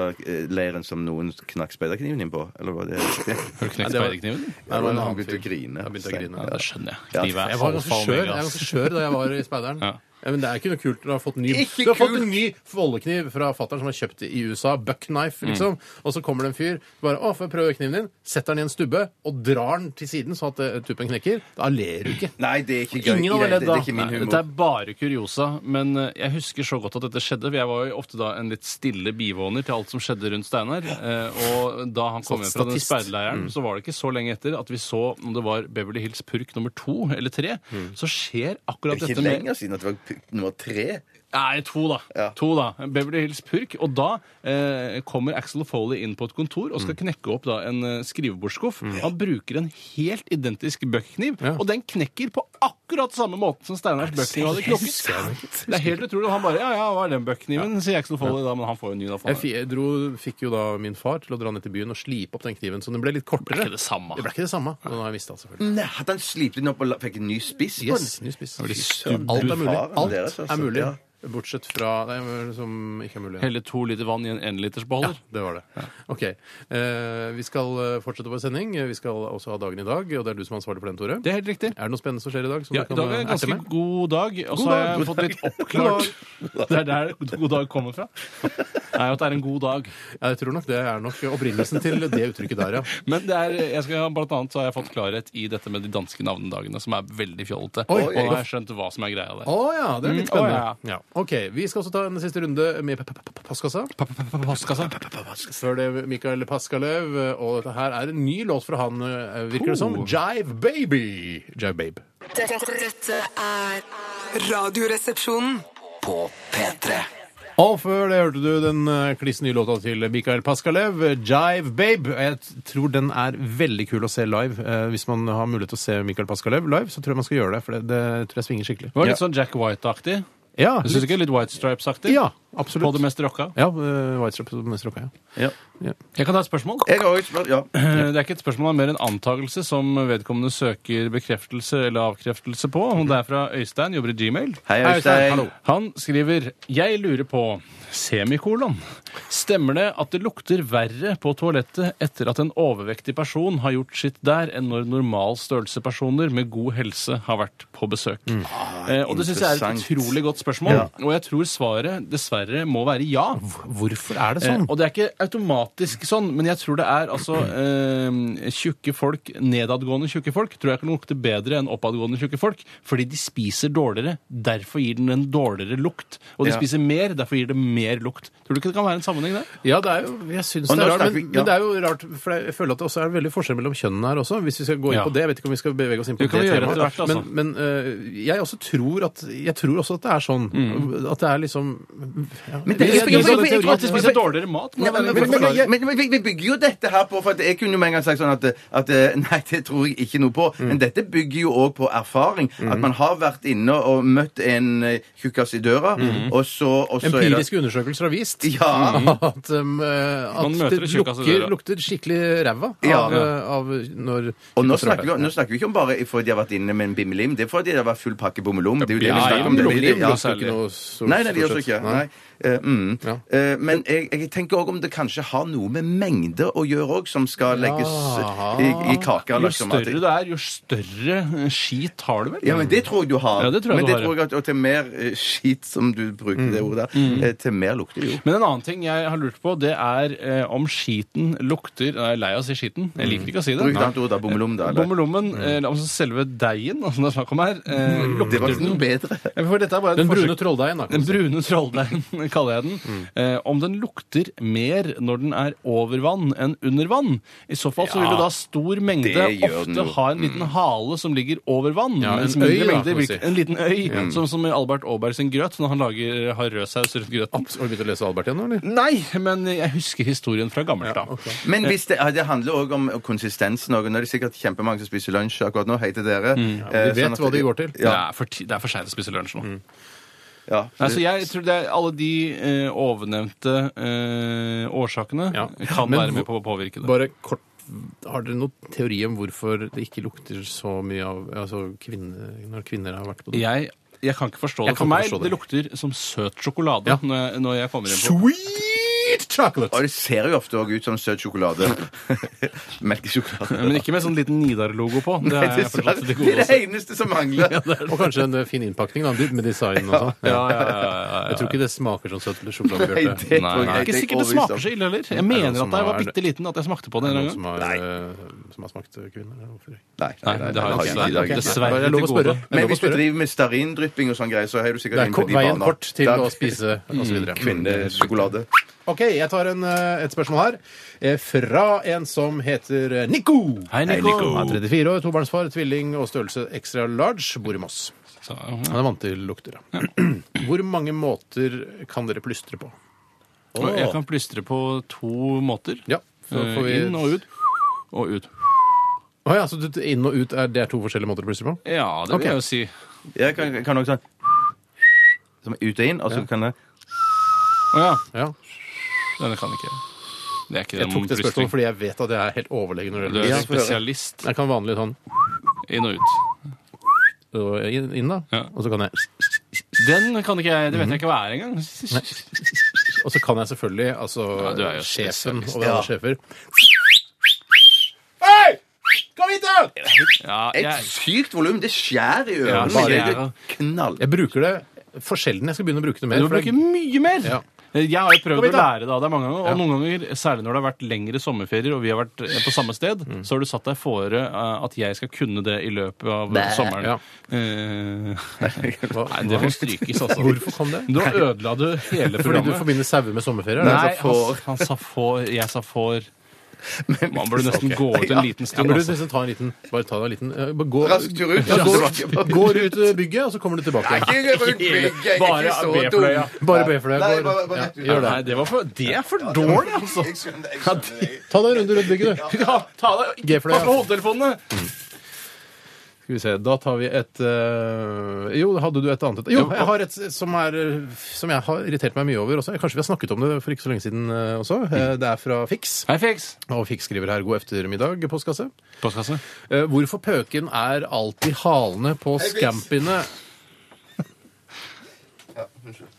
speiderleiren som noen knakk speiderkniven inn på? Eller var det <laughs> Har du knekt det var- speiderkniven? Nei, men han annen begynte å fyr. grine. Jeg begynte å grine. Ja, det skjønner jeg. Ja. Kniv er Jeg var ganske alfa og skjør, jeg omega, var ass. ganske skjør da jeg var i speideren. <laughs> Ja. Ja, men det er ikke noe kult når du har fått ny Ikke Du har fått kult! en ny foldekniv fra fattern som har kjøpt i USA, Buckknife, Mm. liksom. Og så kommer det en fyr bare 'Å, får jeg prøve kniven din?' Setter den i en stubbe og drar den til siden sånn at eh, tuppen knekker. Da ler du ikke. Nei, det er ikke gøy. Ingen hadde det, ledd det da. er ikke min Nei, humor. Dette er bare kuriosa, men eh, jeg husker så godt at dette skjedde. for Jeg var jo ofte da en litt stille bivåner til alt som skjedde rundt Steinar. eh, Og da han kom Sånn hjem fra den statist. speiderleiren, så var det ikke så lenge etter at vi så om det var Beverly Hills purk nummer to eller tre. Så skjer akkurat Det er ikke dette med lenger siden at det var pu- nummer tre. Nei, to, da. Ja. To da. Beverly Hills Purk. Og da eh, kommer Axel Foley inn på et kontor og skal knekke opp da en eh, skrivebordsskuff. Han bruker en helt identisk bøckkniv, Ja. og den knekker på akkurat samme måte som Steinars bøckkniv hadde knokket. Det er helt utrolig. Og han bare Ja, ja, hva er den bøckkniven? sier Axel Foley da, men han får jo en ny da. Jeg, faen. fi- jeg dro, fikk jo da min far til å dra ned til byen og slipe opp den kniven, så den ble litt kortere. Det er ikke det samme. Mm. Det ble ikke det samme. Og nå har jeg mistet den, selvfølgelig. Nei, hadde han slipet den opp og la- fikk en ny spiss på den? Yes, ny spiss. Veldig Alt er mulig. Faren Alt deres, altså. er mulig. Ja. Bortsett fra Nei, men som ikke er mulig. Helle to liter vann i en enlitersbeholder. Det var det. Ok. Eh, vi skal eh, fortsette vår sending. Vi skal også ha dagen i dag, og det er du som er ansvarlig for den, Tore. Det er helt riktig. Er det noe spennende som skjer i dag? Som Ja, du I kan dag er eh, en erte ganske med? god dag, og så God har dag. jeg fått litt oppklart Det er der god dag kommer fra. Nei, at det er en god dag. Ja, jeg tror nok det er nok opprinnelsen til det uttrykket der, ja. Men det er, jeg skal, blant annet så har jeg fått klarhet i dette med de danske navnedagene, som er veldig fjollete. Oi, og jeg har skjønt hva som er greia der. Å ja, det er litt Mm, å, spennende. ja. OK. Vi skal også ta en siste runde med p- p- p- postkassa. Postkassa. Før det Mikael Paskaløv, og dette her er en ny låt fra han, eh, virker det som. Oh. Jive Baby. Jive Babe. Dette, dette er Radioresepsjonen. På P3 Og før det hørte du den eh, kliss nye låta til Mikael Paskalev, Jive Babe. Jeg t- tror den er veldig kul å se live. Eh, Hvis man har mulighet til å se Mikael Paskalev live, så tror jeg man skal gjøre det, for det, det tror jeg svinger skikkelig. Det var litt sånn Jack White-aktig. Ja, Du syns ikke? Litt White Stripes-aktig? ja På absolutt. det mest rocka. Ja, eh, White Stripes og Mester Rocka, ja. Ja. Jeg kan ta et spørsmål. Jeg har også spør- ja. Eh, Det er ikke et spørsmål, det er mer en antakelse som vedkommende søker bekreftelse eller avkreftelse på. Hun er fra Øystein, jobber i Gmail. Hei, Hei, Øystein, Øystein. hallo. Han skriver Jeg lurer på semikolon. Stemmer det at det lukter verre på toalettet etter at en overvektig person har gjort sitt der, enn når normalstørrelsepersoner med god helse har vært på besøk? eh, og det syns jeg er et Mm. Ah, interessant. utrolig godt spørsmål. Og jeg tror svaret dessverre må være ja. Hvorfor er det Eh, sånn? og det er ikke automatisk sånn, men jeg tror det er altså eh, tjukke folk, nedadgående tjukke folk, tror jeg kan lukte bedre enn oppadgående tjukke folk, fordi de spiser dårligere. Derfor gir den en dårligere lukt. Og de Ja. spiser mer, derfor gir det mer lukt. Tror du ikke det kan være en sammenheng der? Ja, det er jo, jeg syns Og det nå er rart, snakker men, vi- ja. men det er jo rart, for jeg føler at det også er veldig forskjell mellom kjønnene her også, hvis vi skal gå inn Ja. på det. Jeg vet ikke om vi skal bevege oss inn på det, Det kan vi gjøre temaet. etter hvert, altså. Men, men øh, jeg også tror at jeg tror også at det er sånn. At det er liksom ja. Mm. Men det- Jeg- jeg- men- men- jeg- men- At de jeg- spiser dårligere mat? må Nei, men, det være men, en men, forklaring. men, men, vi- vi bygger jo dette her på For at jeg kunne jo med en gang sagt sånn at, at eh, Nei, det tror jeg ikke noe på. Men dette bygger jo òg på erfaring. At man har vært inne og møtt en eh, tjukkas i døra, og så, og så er det Empiriske undersøkelser har vist <laughs> Ja. at, um, øh, Man at møter det en tjukkas i lukter, døra. lukter skikkelig ræva av, altså, Ja. øh, av når Og nå snakker, vi, nå snakker vi ikke om bare fordi de har vært inne med en bimmelim. Det er fordi de har vært full pakke bommelom. Det er jo det Ja, vi ja, snakker om. Det, bimmelim, det, ja. altså. lukter ikke noe stort- Nei, nei, de gjør så stort ikke. sett. Nei. Eh, mm. Ja. Eh, men jeg, jeg tenker òg om det kanskje har noe med mengde å gjøre òg, som skal legges i, i kaka. Jo Liksom, at det- større det er, jo større eh, skit har du vel? Ja, men det tror jeg du har. Ja, det tror jeg men du det har, tror jeg at, og til mer eh, skit, som du bruker det ordet, der, eh, til mer lukter det jo. Men en annen ting jeg har lurt på, det er eh, om skiten lukter Nei, Jeg er lei av å si skiten. Jeg liker ikke å si det. Bruk et annet ord, da. Bommelom, da. Eller? Bommelommen, eller altså selve deigen altså, det er snakk om her, eh, Mm. Det var lukter ikke noe bedre. Ja, For dette er bare et Den brune forsøk- trolldeigen, da. kan den man si. brune trolldeigen, <laughs> kaller jeg den. Mm. Eh, om den lukter mer når den er over vann enn under vann. I så fall så vil jo da stor mengde Det gjør den ofte jo. Mm. ha en liten hale som ligger over vann. Ja, mens en mindre øy, da, mengder kan man virker- si. En liten øy, som, som i Albert Aaberg sin grøt, når han lager, har rødsaus rundt grøten. Har du begynt å lese Albert igjen nå, eller? Nei, men jeg husker historien fra gammelt av. Men hvis det, ja, det handler òg om konsistensen. Og nå er det sikkert kjempemange som spiser lunsj akkurat nå. Hei til dere. Eh, sånn De vet hva de går til. Det er for, ti- det er for seint å spise lunsj nå. Mm. Ja. Nei, så Altså, jeg tror det er alle de eh, ovennevnte eh, årsakene Ja. kan Men være med hvor- på å påvirke det. Bare kort, har dere noen teori om hvorfor det ikke lukter så mye av altså kvinner, når kvinner har vært på do? Jeg, jeg kan ikke forstå det. Jeg kan For ikke meg forstå det det. lukter som søt sjokolade Ja. når, jeg, når jeg kommer inn på Sweet chocolate! Og det ser jo ofte òg ut som søt sjokolade. <laughs> Melkesjokolade. Men ikke med sånn liten Nidar-logo på. Det Nei, har jeg dessverre. forstått til <laughs> Det gode er det også. eneste som mangler. Og kanskje en eh, fin innpakning da, med design og sånn. Ja, ja, ja, ja, Jeg ja. tror ikke det smaker som søt sjokolade, Nei, Bjarte. det Nei, tror nei. jeg Ikke sikkert det smaker så ille heller. Jeg mener noen at da jeg var som har- bitte liten, at jeg smakte på det en Noen eller annen gang. som har, eh, som har smakt kvinner? eller Hvorfor? ikke? Nei, Nei, det har jeg ikke i dessverre, dag. dessverre Det er lov å til gode. spørre. Men hvis du driver med stearindrypping og sånn greier, så er du Det sikkert er inne ko- på de veien baner. kort til Da- å spise mm, osv. Kvinnesjokolade. OK, jeg tar en, eh, et spørsmål her. Eh, Fra en som heter eh, Nico. Hei, Nico. Han er 34 år, tobarnsfar, tvilling og størrelse extra large. Bor i Moss. Så, Han er vant til lukter. da. <clears throat> Hvor mange måter kan dere plystre på? og Jeg kan plystre på to måter. Ja, så Eh, får vi... Inn og ut. Og ut. Å ja, så du- inn og ut er, det er to forskjellige måter å plystre på? Ja, det Ok. vil jeg jo si. Jeg kan, kan også sånn Som ut og inn, og så kan jeg Å ja. Ja. Denne kan ikke jeg. Det er ikke Jeg den tok det plystring. spørsmålet fordi jeg vet at jeg er helt overlegen når det Du gjelder er Ja, plystring. for- spesialist Jeg kan vanlig sånn inn og ut. og inn, inn da, Ja. og så kan jeg Den kan ikke jeg, det vet jeg ikke hva er engang. Og så kan jeg selvfølgelig, altså du er jo sjefen spesialist. over alle sjefer Hei! Kom hit, da! Ja, Et jeg, sykt volum! Det skjærer i Ja, ørene. bare- det er knall. Jeg bruker det for sjelden. Jeg skal begynne å bruke det mer. du må for det- bruke mye mer! Ja. Jeg har jo prøvd Kom hit, å da. lære det av deg mange ganger, og noen ganger, særlig når det har vært lengre sommerferier og vi har vært eh, på samme sted, Mm. så har du satt deg fore eh, at jeg skal kunne det i løpet av sommeren. Ja. Eh, <laughs> Hva- nei, det må strykes, altså. Hvorfor kom det? Nå ødela du Fordi hele du programmet. forbinder sauer med sommerferie? altså Nei, altså, eller? sa får. han, han sa får, jeg <laughs> sa får. Man burde nesten gå ut en liten Ja, stund. men du altså. nesten ta en liten, bare ta deg en liten eh, bare gå, Rask tur ut. Ja, Rask går, tilbake. går ut eh, bygget, og så kommer du tilbake. Nei, ikke rundt bygget, jeg er Bare ikke så be for dum. det, ja. Bare be for det. Nei, går- bare- bare ja, rett ut. gjør det. Nei, det, var for, det er for dårlig, altså! Jeg skjønner, jeg skjønner. det. Ta deg en runde rundt <laughs> bygget, du. Ja, ta deg G for det, pass ja. på hodetelefonene! Skal vi se, da tar vi et eh, Jo, hadde du et annet? Jo, jeg har et som, er, eh, som jeg har irritert meg mye over også. Kanskje vi har snakket om det for ikke så lenge siden eh, også. Eh, Det er fra Fiks. Hei, Fix. Og Fiks skriver her 'God ettermiddag, postkasse'. Postkasse. Eh, Hvorfor pøken er alltid halene på Fiks. scampene?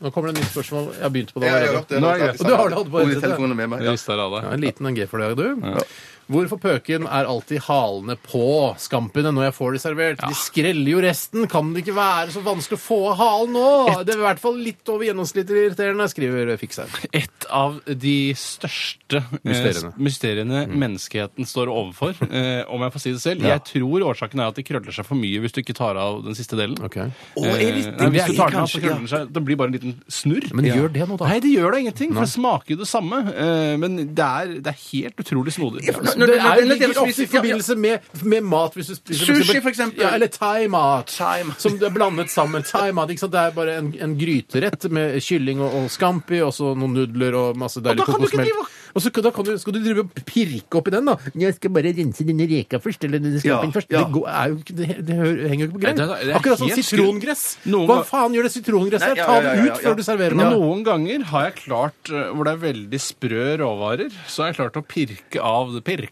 Nå kommer det et nytt spørsmål. Jeg har begynt på det. Jeg har allerede. gjort det. Nå er det greit. Og du har det hatt på headsetet? Hodetelefonene med meg. Jeg Ja. rister av Ja, deg. en liten NG for deg, du. Hvorfor pøken er alltid halene på skampene når jeg får de servert? De skreller jo resten. Kan det ikke være så vanskelig å få av halen nå? Det er i hvert fall litt over gjennomsnittet irriterende, skriver Fikseren. Et av de største eh, Mysteriene. Mm. mysteriene menneskeheten <laughs> står overfor, eh, om jeg får si det selv. Jeg tror årsaken er at de krøller seg for mye hvis du ikke tar av den siste delen. Ok. Å, Eh, er litt- nei, hvis du tar den av, kanskje, så krøller den seg. Det blir bare en liten snurr. Men gjør det nå, da. Nei, det gjør da ingenting, for det smaker jo det samme. eh, Men det er, det er helt utrolig snodig. Når- Det når- er når- ligger når- ofte i forbindelse med, med mat. Hvis du spiser, Sushi, for eksempel. Ja, eller thaimat. Thaimat. Som det er blandet sammen. Thaimat, ikke sant? Det er bare en, en gryterett med kylling og, og scampi og så noen nudler og masse deilig da kan du ikke kokosmelk. drive Og så kan- da kan du, skal du drive og pirke oppi den, da. Jeg skal bare rense denne reka først, eller denne scampien Ja, først. ja. Det, går, er jo, ikke- det, det hø- henger jo ikke på Nei, det er- det greip. er Akkurat som helt sitrongress. Noen Hva ganger- faen gjør det sitrongresset? Nei, ja, Ta ja, ja, det ja, ut ja. før du serverer Men det. Noen ganger har jeg klart, eh, hvor det er veldig sprø råvarer, så har jeg klart å pirke av det pirka.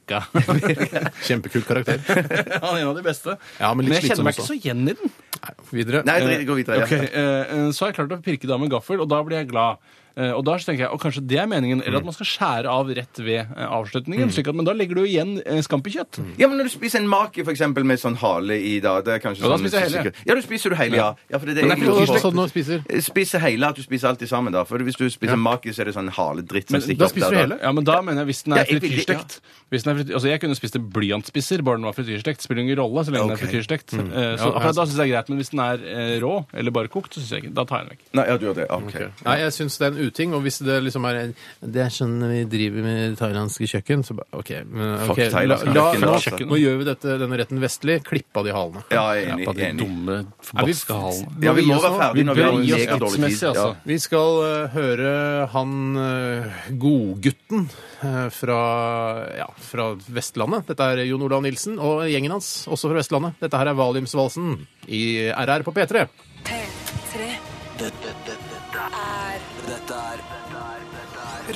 <laughs> Kjempekul karakter. Han er en av de beste. Ja, men litt jeg slitsom kjenner meg ikke også. så igjen i den. Videre. Nei, drit- gå videre. ja. Ok, eh, eh, Så har jeg klart å pirke det av med gaffel, og da blir jeg glad. Eh, Og da så tenker jeg, og kanskje det er meningen, eller Mm. at man skal skjære av rett ved eh, avslutningen. Slik at, men da legger du jo igjen eh, skampekjøtt. Ja, men når du spiser en maki for eksempel, med sånn hale i da, det er kanskje Ja, da sånn- spiser jeg hele. Ja, du spiser du hele, ja. ja for det er det Men det er jeg ikke lurer Og på. sånn nå spiser Spiser hele, at du spiser alt i sammen, da. For hvis du spiser maki, så er det sånn haledritt som Men stikker da opp spiser du der, hele? Ja, men da mener jeg hvis den Ja, er jeg vil- frityrstekt. Hvis den er frityr, altså jeg kunne spist en blyantsspisser, bare den var frityrstekt. Spiller ingen rolle så lenge den er Ok. frityrstekt. Eh, Så Ja, akkurat da syns jeg det er greit, men hvis den er eh, rå eller bare kokt, så synes jeg ikke Da tar jeg den vekk. Nei, ja, du gjør det. Ok. Nei, jeg syns det er en uting. Og hvis det liksom er en, Det er sånn vi driver med thailandske kjøkken, så bare OK. Men, Fuck ok, la, thailandske la, kjøkken, nå, altså. nå gjør vi dette, denne retten vestlig. Klipp av de halene. Ja, jeg er enig. jeg er enig. dumme, vi- forbaska halen. Ja, vi må være Vi ferdige når vi bør har gi oss mega dårlig tidsmessig, tid. Ja. altså. Vi skal eh, høre han uh, godgutten eh, fra, ja, fra Vestlandet. Dette er Jon Olav Nilsen og gjengen hans, også fra Vestlandet. Dette her er Valiumsvalsen i RR på P3. P3 Dette, dette, dette er Dette er dette er- dette er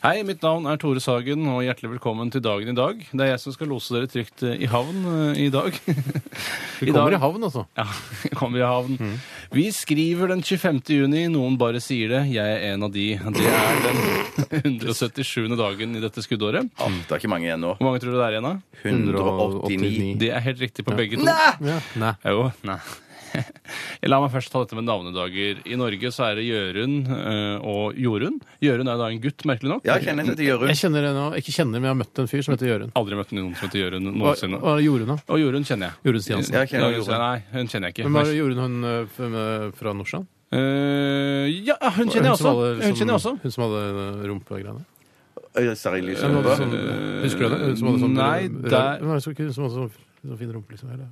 Hei, mitt navn er Tore Sagen, og hjertelig velkommen til dagen i dag. Det er jeg som skal lose dere trygt eh, i havn eh, i dag. <laughs> Vi kommer i havn, altså. Ja, <laughs> kommer i havn. Vi skriver den 25. juni, noen bare sier det. Jeg er en av de. Det er den 177. dagen i dette skuddåret. Ja, det er ikke mange igjen nå. Hvor mange tror du det er igjen, da? 189. Det er helt riktig på begge to. Nei! Nei. Jo, nei. <laughs> La meg først ta dette med navnedager. I Norge så er det Jørund eh, og Jorunn. Jørund er jo da en gutt, merkelig nok. Ja, jeg kjenner til Jørund. Jeg kjenner det nå. Ikke kjenner, men jeg har møtt en fyr som heter Jørund. Aldri møtt noen som heter Jørund Hva, noensinne. hva gjorde hun, da? Og Jorunn kjenner jeg. Jorunn Stiansen. Jeg kjenner Ja, Jorunn. Nei, hun kjenner jeg ikke. Hvem var det gjorde hun eh, f- med- fra Nordsjøen? Eh, ja, hun kjenner jeg også. som hadde Hun kjenner jeg også. liksom- Hun som hadde eh, rumpegreiene? Øy, Sari Lise. Hun hadde sånn- Husker du det? Hun som hadde sånn Nei, rød- der- Hun hadde så- hun som hadde sånn sånn fin rumpe, liksom? Eller?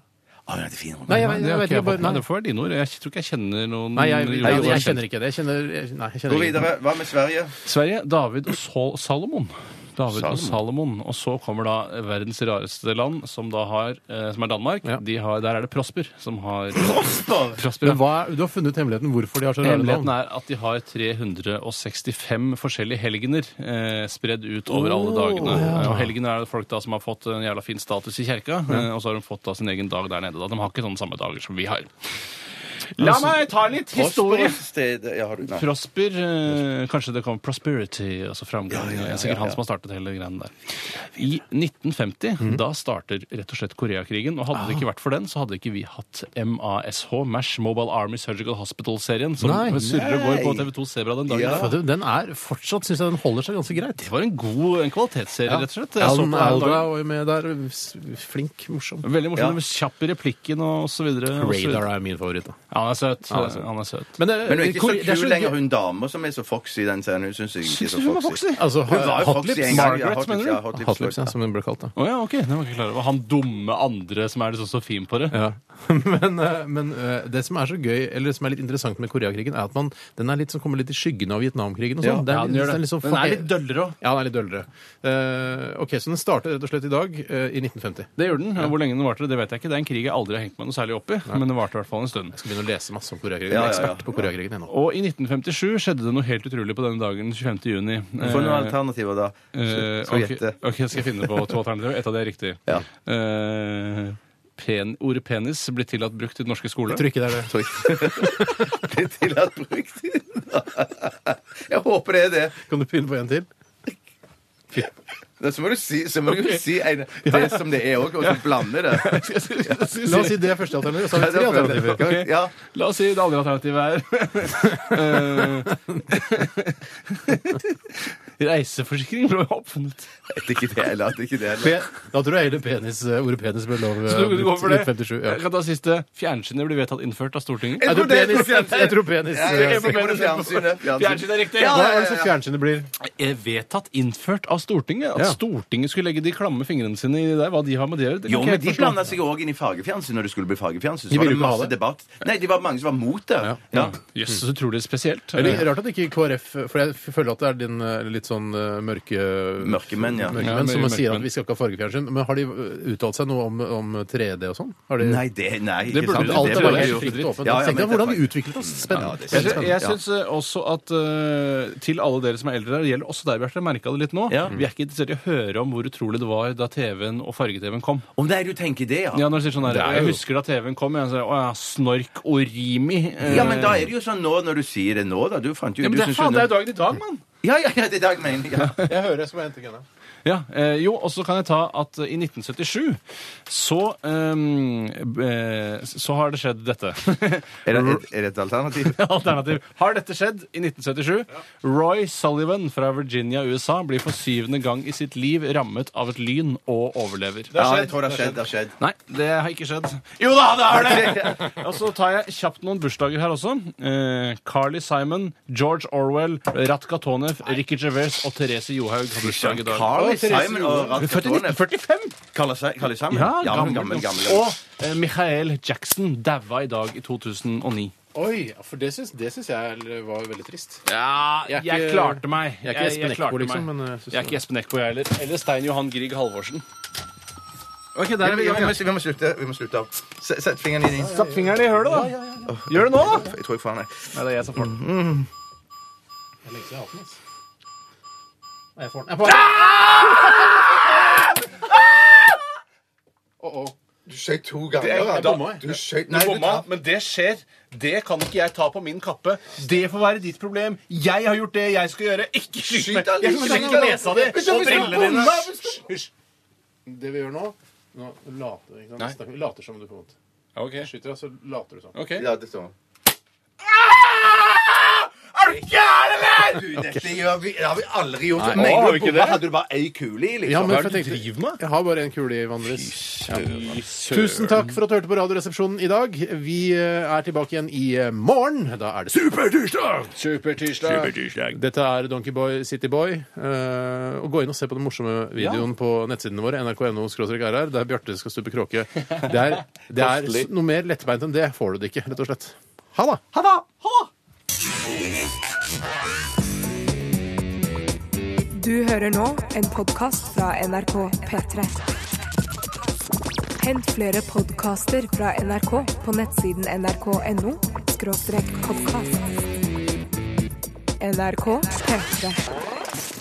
Å, hun er fin. Nei, jeg, Nei, jeg, det har vet ikke ikke. jeg Bare, fått med. nei, Det får være dine ord. Jeg tror ikke jeg kjenner noen nei jeg, jeg, jeg, Jorunn. kjenner ikke det. Jeg kjenner, jeg, nei, jeg Gå kjenner ikke det. videre. Hva med Sverige? Sverige, David og Sol Salomon. David Salomon. og Salomon. Og så kommer da verdens rareste land, som da har, eh, som er Danmark. Ja. De har, der er det Prosper som <laughs> har Prosper! Prosper, ja. Men hva er, du har funnet hemmeligheten hvorfor de har så rare Hemmeligheten navn. er at de har 365 forskjellige helgener eh, spredd ut over alle dagene. Eh, Og helgener er det folk da som har fått en jævla fin status i kjerka, eh, og så har de fått da sin egen dag der nede. da. De har ikke sånne samme dager som vi har. Altså, La meg ta litt historie! Prosper-stedet ja, har du- nei. Prosper, eh, kanskje det kommer prosperity, altså framgang. Det er sikkert han som har startet hele greiene der. I 1950, da starter rett og slett Koreakrigen, og hadde det ikke vært for den, så hadde ikke vi hatt MASH, MASH, Mobile Army Surgical Hospital-serien, som Nei. surrer og går på TV2 Sebra den dagen. Ja. Vet du, Den er fortsatt, syns jeg den holder seg ganske greit. Det var en god en kvalitetsserie, rett og slett. Jeg så på Alan den her Alda dagen. var jo med der. s- Flink, morsom. Veldig Ja. morsom, med kjapp i replikken og så videre. og så videre. Radar er min favoritt. da. Ja, han er søt. Han er søt. Men, det, Men hun er ikke Kore- det så er kul lenger, gøy- hun dama som er så foxy i den serien. Hun syns jeg ikke er så Synes du hun var foxy. foxy? Altså, Hun var jo foxy en Hotlips. gang. Ja, Margaret, mener du? ja, hotlips, Hotlips, ja, ja. som hun ble kalt. da. Å ja, ok. Det var jeg ikke klar over. Han dumme andre som er liksom så fin på det. Ja. <laughs> Men, eh, men eh, det som er så gøy, eller som er litt interessant med Koreakrigen, er at man, den er litt, som kommer litt i skyggen av Vietnamkrigen. og sånn. Det er Ja, litt- den gjør det er det. litt sånn Den er fa- litt døllere òg. Ja, den er litt døllere. Eh, ok, Så den startet rett og slett i dag, eh, i 1950. Jeg Det gjør den. Hvor lenge den varte, det vet jeg ikke. Det er en krig jeg aldri har hengt meg noe særlig opp i, men den varte i hvert fall en stund. skal begynne å lese masse om Koreakrigen. Ja, Jeg er ja, ja. ekspert på Koreakrigen jeg nå. Og i 1957 skjedde det noe helt utrolig på denne dagen, 25. juni. Du får noen Eh, alternativer, da. Eh, Skal vi ok, gjette. ok, skal jeg finne på to alternativer. Et av det er riktig. Ja. Eh, pen, ordet penis blir tillatt brukt i den norske skolen. Jeg tror <laughs> ikke det eh. er det. Blir tillatt brukt. Jeg håper det er det. Kan du begynne på en til? Men Så må du si, så må du jo si en, det som det er òg, og så blande det. La oss si det er første alternativet, og så har vi tre alternativer. Ok, Ja, La oss si det andre alternativet <laughs> er Eh, <laughs> Reiseforsikring ble jo oppfunnet. jeg vet ikke det heller. jeg vet Ikke det heller. Pe- Da tror jeg hele penis, eh, ordet penis ble lov eh, Så du, du går brukt for det. i 57. Ja. Jeg kan ta siste. Fjernsynet blir vedtatt innført av Stortinget. Jeg tror tror det er penis, fjernsynet. jeg tror penis Ja, eh, jeg er på sikker på det fjernsynet. Fjernsynet er riktig! Ja, Hva er det så fjernsynet blir? Eh, Vedtatt innført av Stortinget? At Ja. Stortinget skulle legge de klamme fingrene sine i det der, hva de har med det å gjøre? det kan Jo, ikke men jeg de forstå. blanda seg òg inn i fargefjernsyn når det skulle bli fargefjernsyn. Så De var ville det ikke ha masse det. debatt. Nei, det var mange som var mot det. Ja. Ja. Ja. Jøss, så utrolig spesielt. Eller, rart at ikke KrF For jeg føler at det er din eh, litt sånn eh, mørke Mørkemenn, ja. Ja, Mørkemenn som mørkemenn. sier at vi skal ikke ha fargefjernsyn. Men har de eh, uttalt seg noe om, om 3D og sånn? Har de, Nei, det Nei. Det burde- sant? alt det er burde bare de helt gjort fritt litt. og åpent. Ja, ja, Tenk men deg det- hvordan vi utviklet oss. Ja, Spennende. det Jeg, synes sy- jeg syns eh, også at eh, til alle dere som er eldre, det gjelder også deg, Bjarte, jeg merka det litt nå. Ja. Vi er ikke interessert i å høre om hvor utrolig det var da TV-en og farge-TV-en kom. Å nei, du tenker det, Ja, ja. når du sier sånn der, Det er Jeg jo- husker da TV-en kom, jeg sa å ja, snork og rimi. eh, Ja, men da er det jo sånn nå når du sier det nå, da. Du fant jo Ja, men du det er synes faen, det er jo- jo dagen i dag, mann! Ja, ja, ja, det er dag mener jeg. Ja. Jeg hører som jeg henter henne. Ja, eh, jo, og så kan jeg ta at eh, i 1977 så eh, b- eh, Så har det skjedd dette. Er det, er, er det et alternativ? <laughs> Alternativ. Har dette skjedd i 1977? Roy Sullivan fra Virginia, USA, blir for syvende gang i sitt liv rammet av et lyn og overlever. Ja, jeg tror det har skjedd. Det har skjedd. Nei, det har ikke skjedd. Jo da, det har det! <laughs> Og så tar jeg kjapt noen bursdager her også. Eh, Carly Simon, George Orwell, Ratka Tonev, Ricky Gervais og Therese Johaug har bursdag i dag. Carly Å, Therese Simon og Hun er Født i Raskatone. 1945! Kaller seg kaller sammen? Ja, Ja, gammel, gammel, gammel, gammel. Og eh, Michael Jackson daua i dag i 2009. Oi, for det syns, det syns jeg var veldig trist. Ja, jeg, Jeg er ikke- klarte meg. jeg er ikke Espen Eckbo, klarte liksom, meg. men, eh, synes jeg er det- ikke Espen Eckbo, jeg heller. Eller Stein Johan Grieg Halvorsen. Ok, Ja, vi, vi, må, vi må slutte. Vi må slutte. Se- Sett fingeren inn i Stapp fingeren i hølet, da. Gjør det nå, da. Jeg tror jeg får den. jeg. Nei, det er jeg som får den. Jeg får den. Jeg får den. Du skjøt to ganger. da- bomma, jeg. du skjøt, nei, du Bomma, men det skjer. Det kan ikke jeg ta på min kappe. Det får være ditt problem. Jeg har gjort det jeg skal gjøre. Ikke skyt meg. Jeg skyt han. trenger ikke lese av det Hvis jeg- og hvis jeg brillene dine. bommer, Hysj, hysj. Det vi gjør nå Nå later vi. ikke sant? Vi later som om du får vondt. Ok, Skyter deg, så later du sånn. ok. Ja, det står. Ah! Er du gæren, eller?! Du, dette gjør vi, det har vi aldri gjort. Nei. Å, har vi Mener du ikke bomma? det? Hadde du bare ei kule i, liksom? Ja, men Hva for er det jeg du tenkte driver med? Jeg har bare én kule i vanligvis. Tusen takk for at du hørte på Radioresepsjonen i dag. Vi eh, er tilbake igjen i eh, morgen. Da er det Supertirsdag! Supertirsdag. Dette er Donkeyboy Cityboy. Eh, og gå inn og se på den morsomme videoen på nettsidene våre, nrk.no rr, der Bjarte skal stupe kråke. Det er, det er s- noe mer lettbeint enn det får du det ikke, rett og slett. Ha det! Ha det! Ha det! Du Du hører nå en podkast fra NRK P3. Hent flere podkaster fra NRK på nettsiden nrk.no podkast. NRK P3.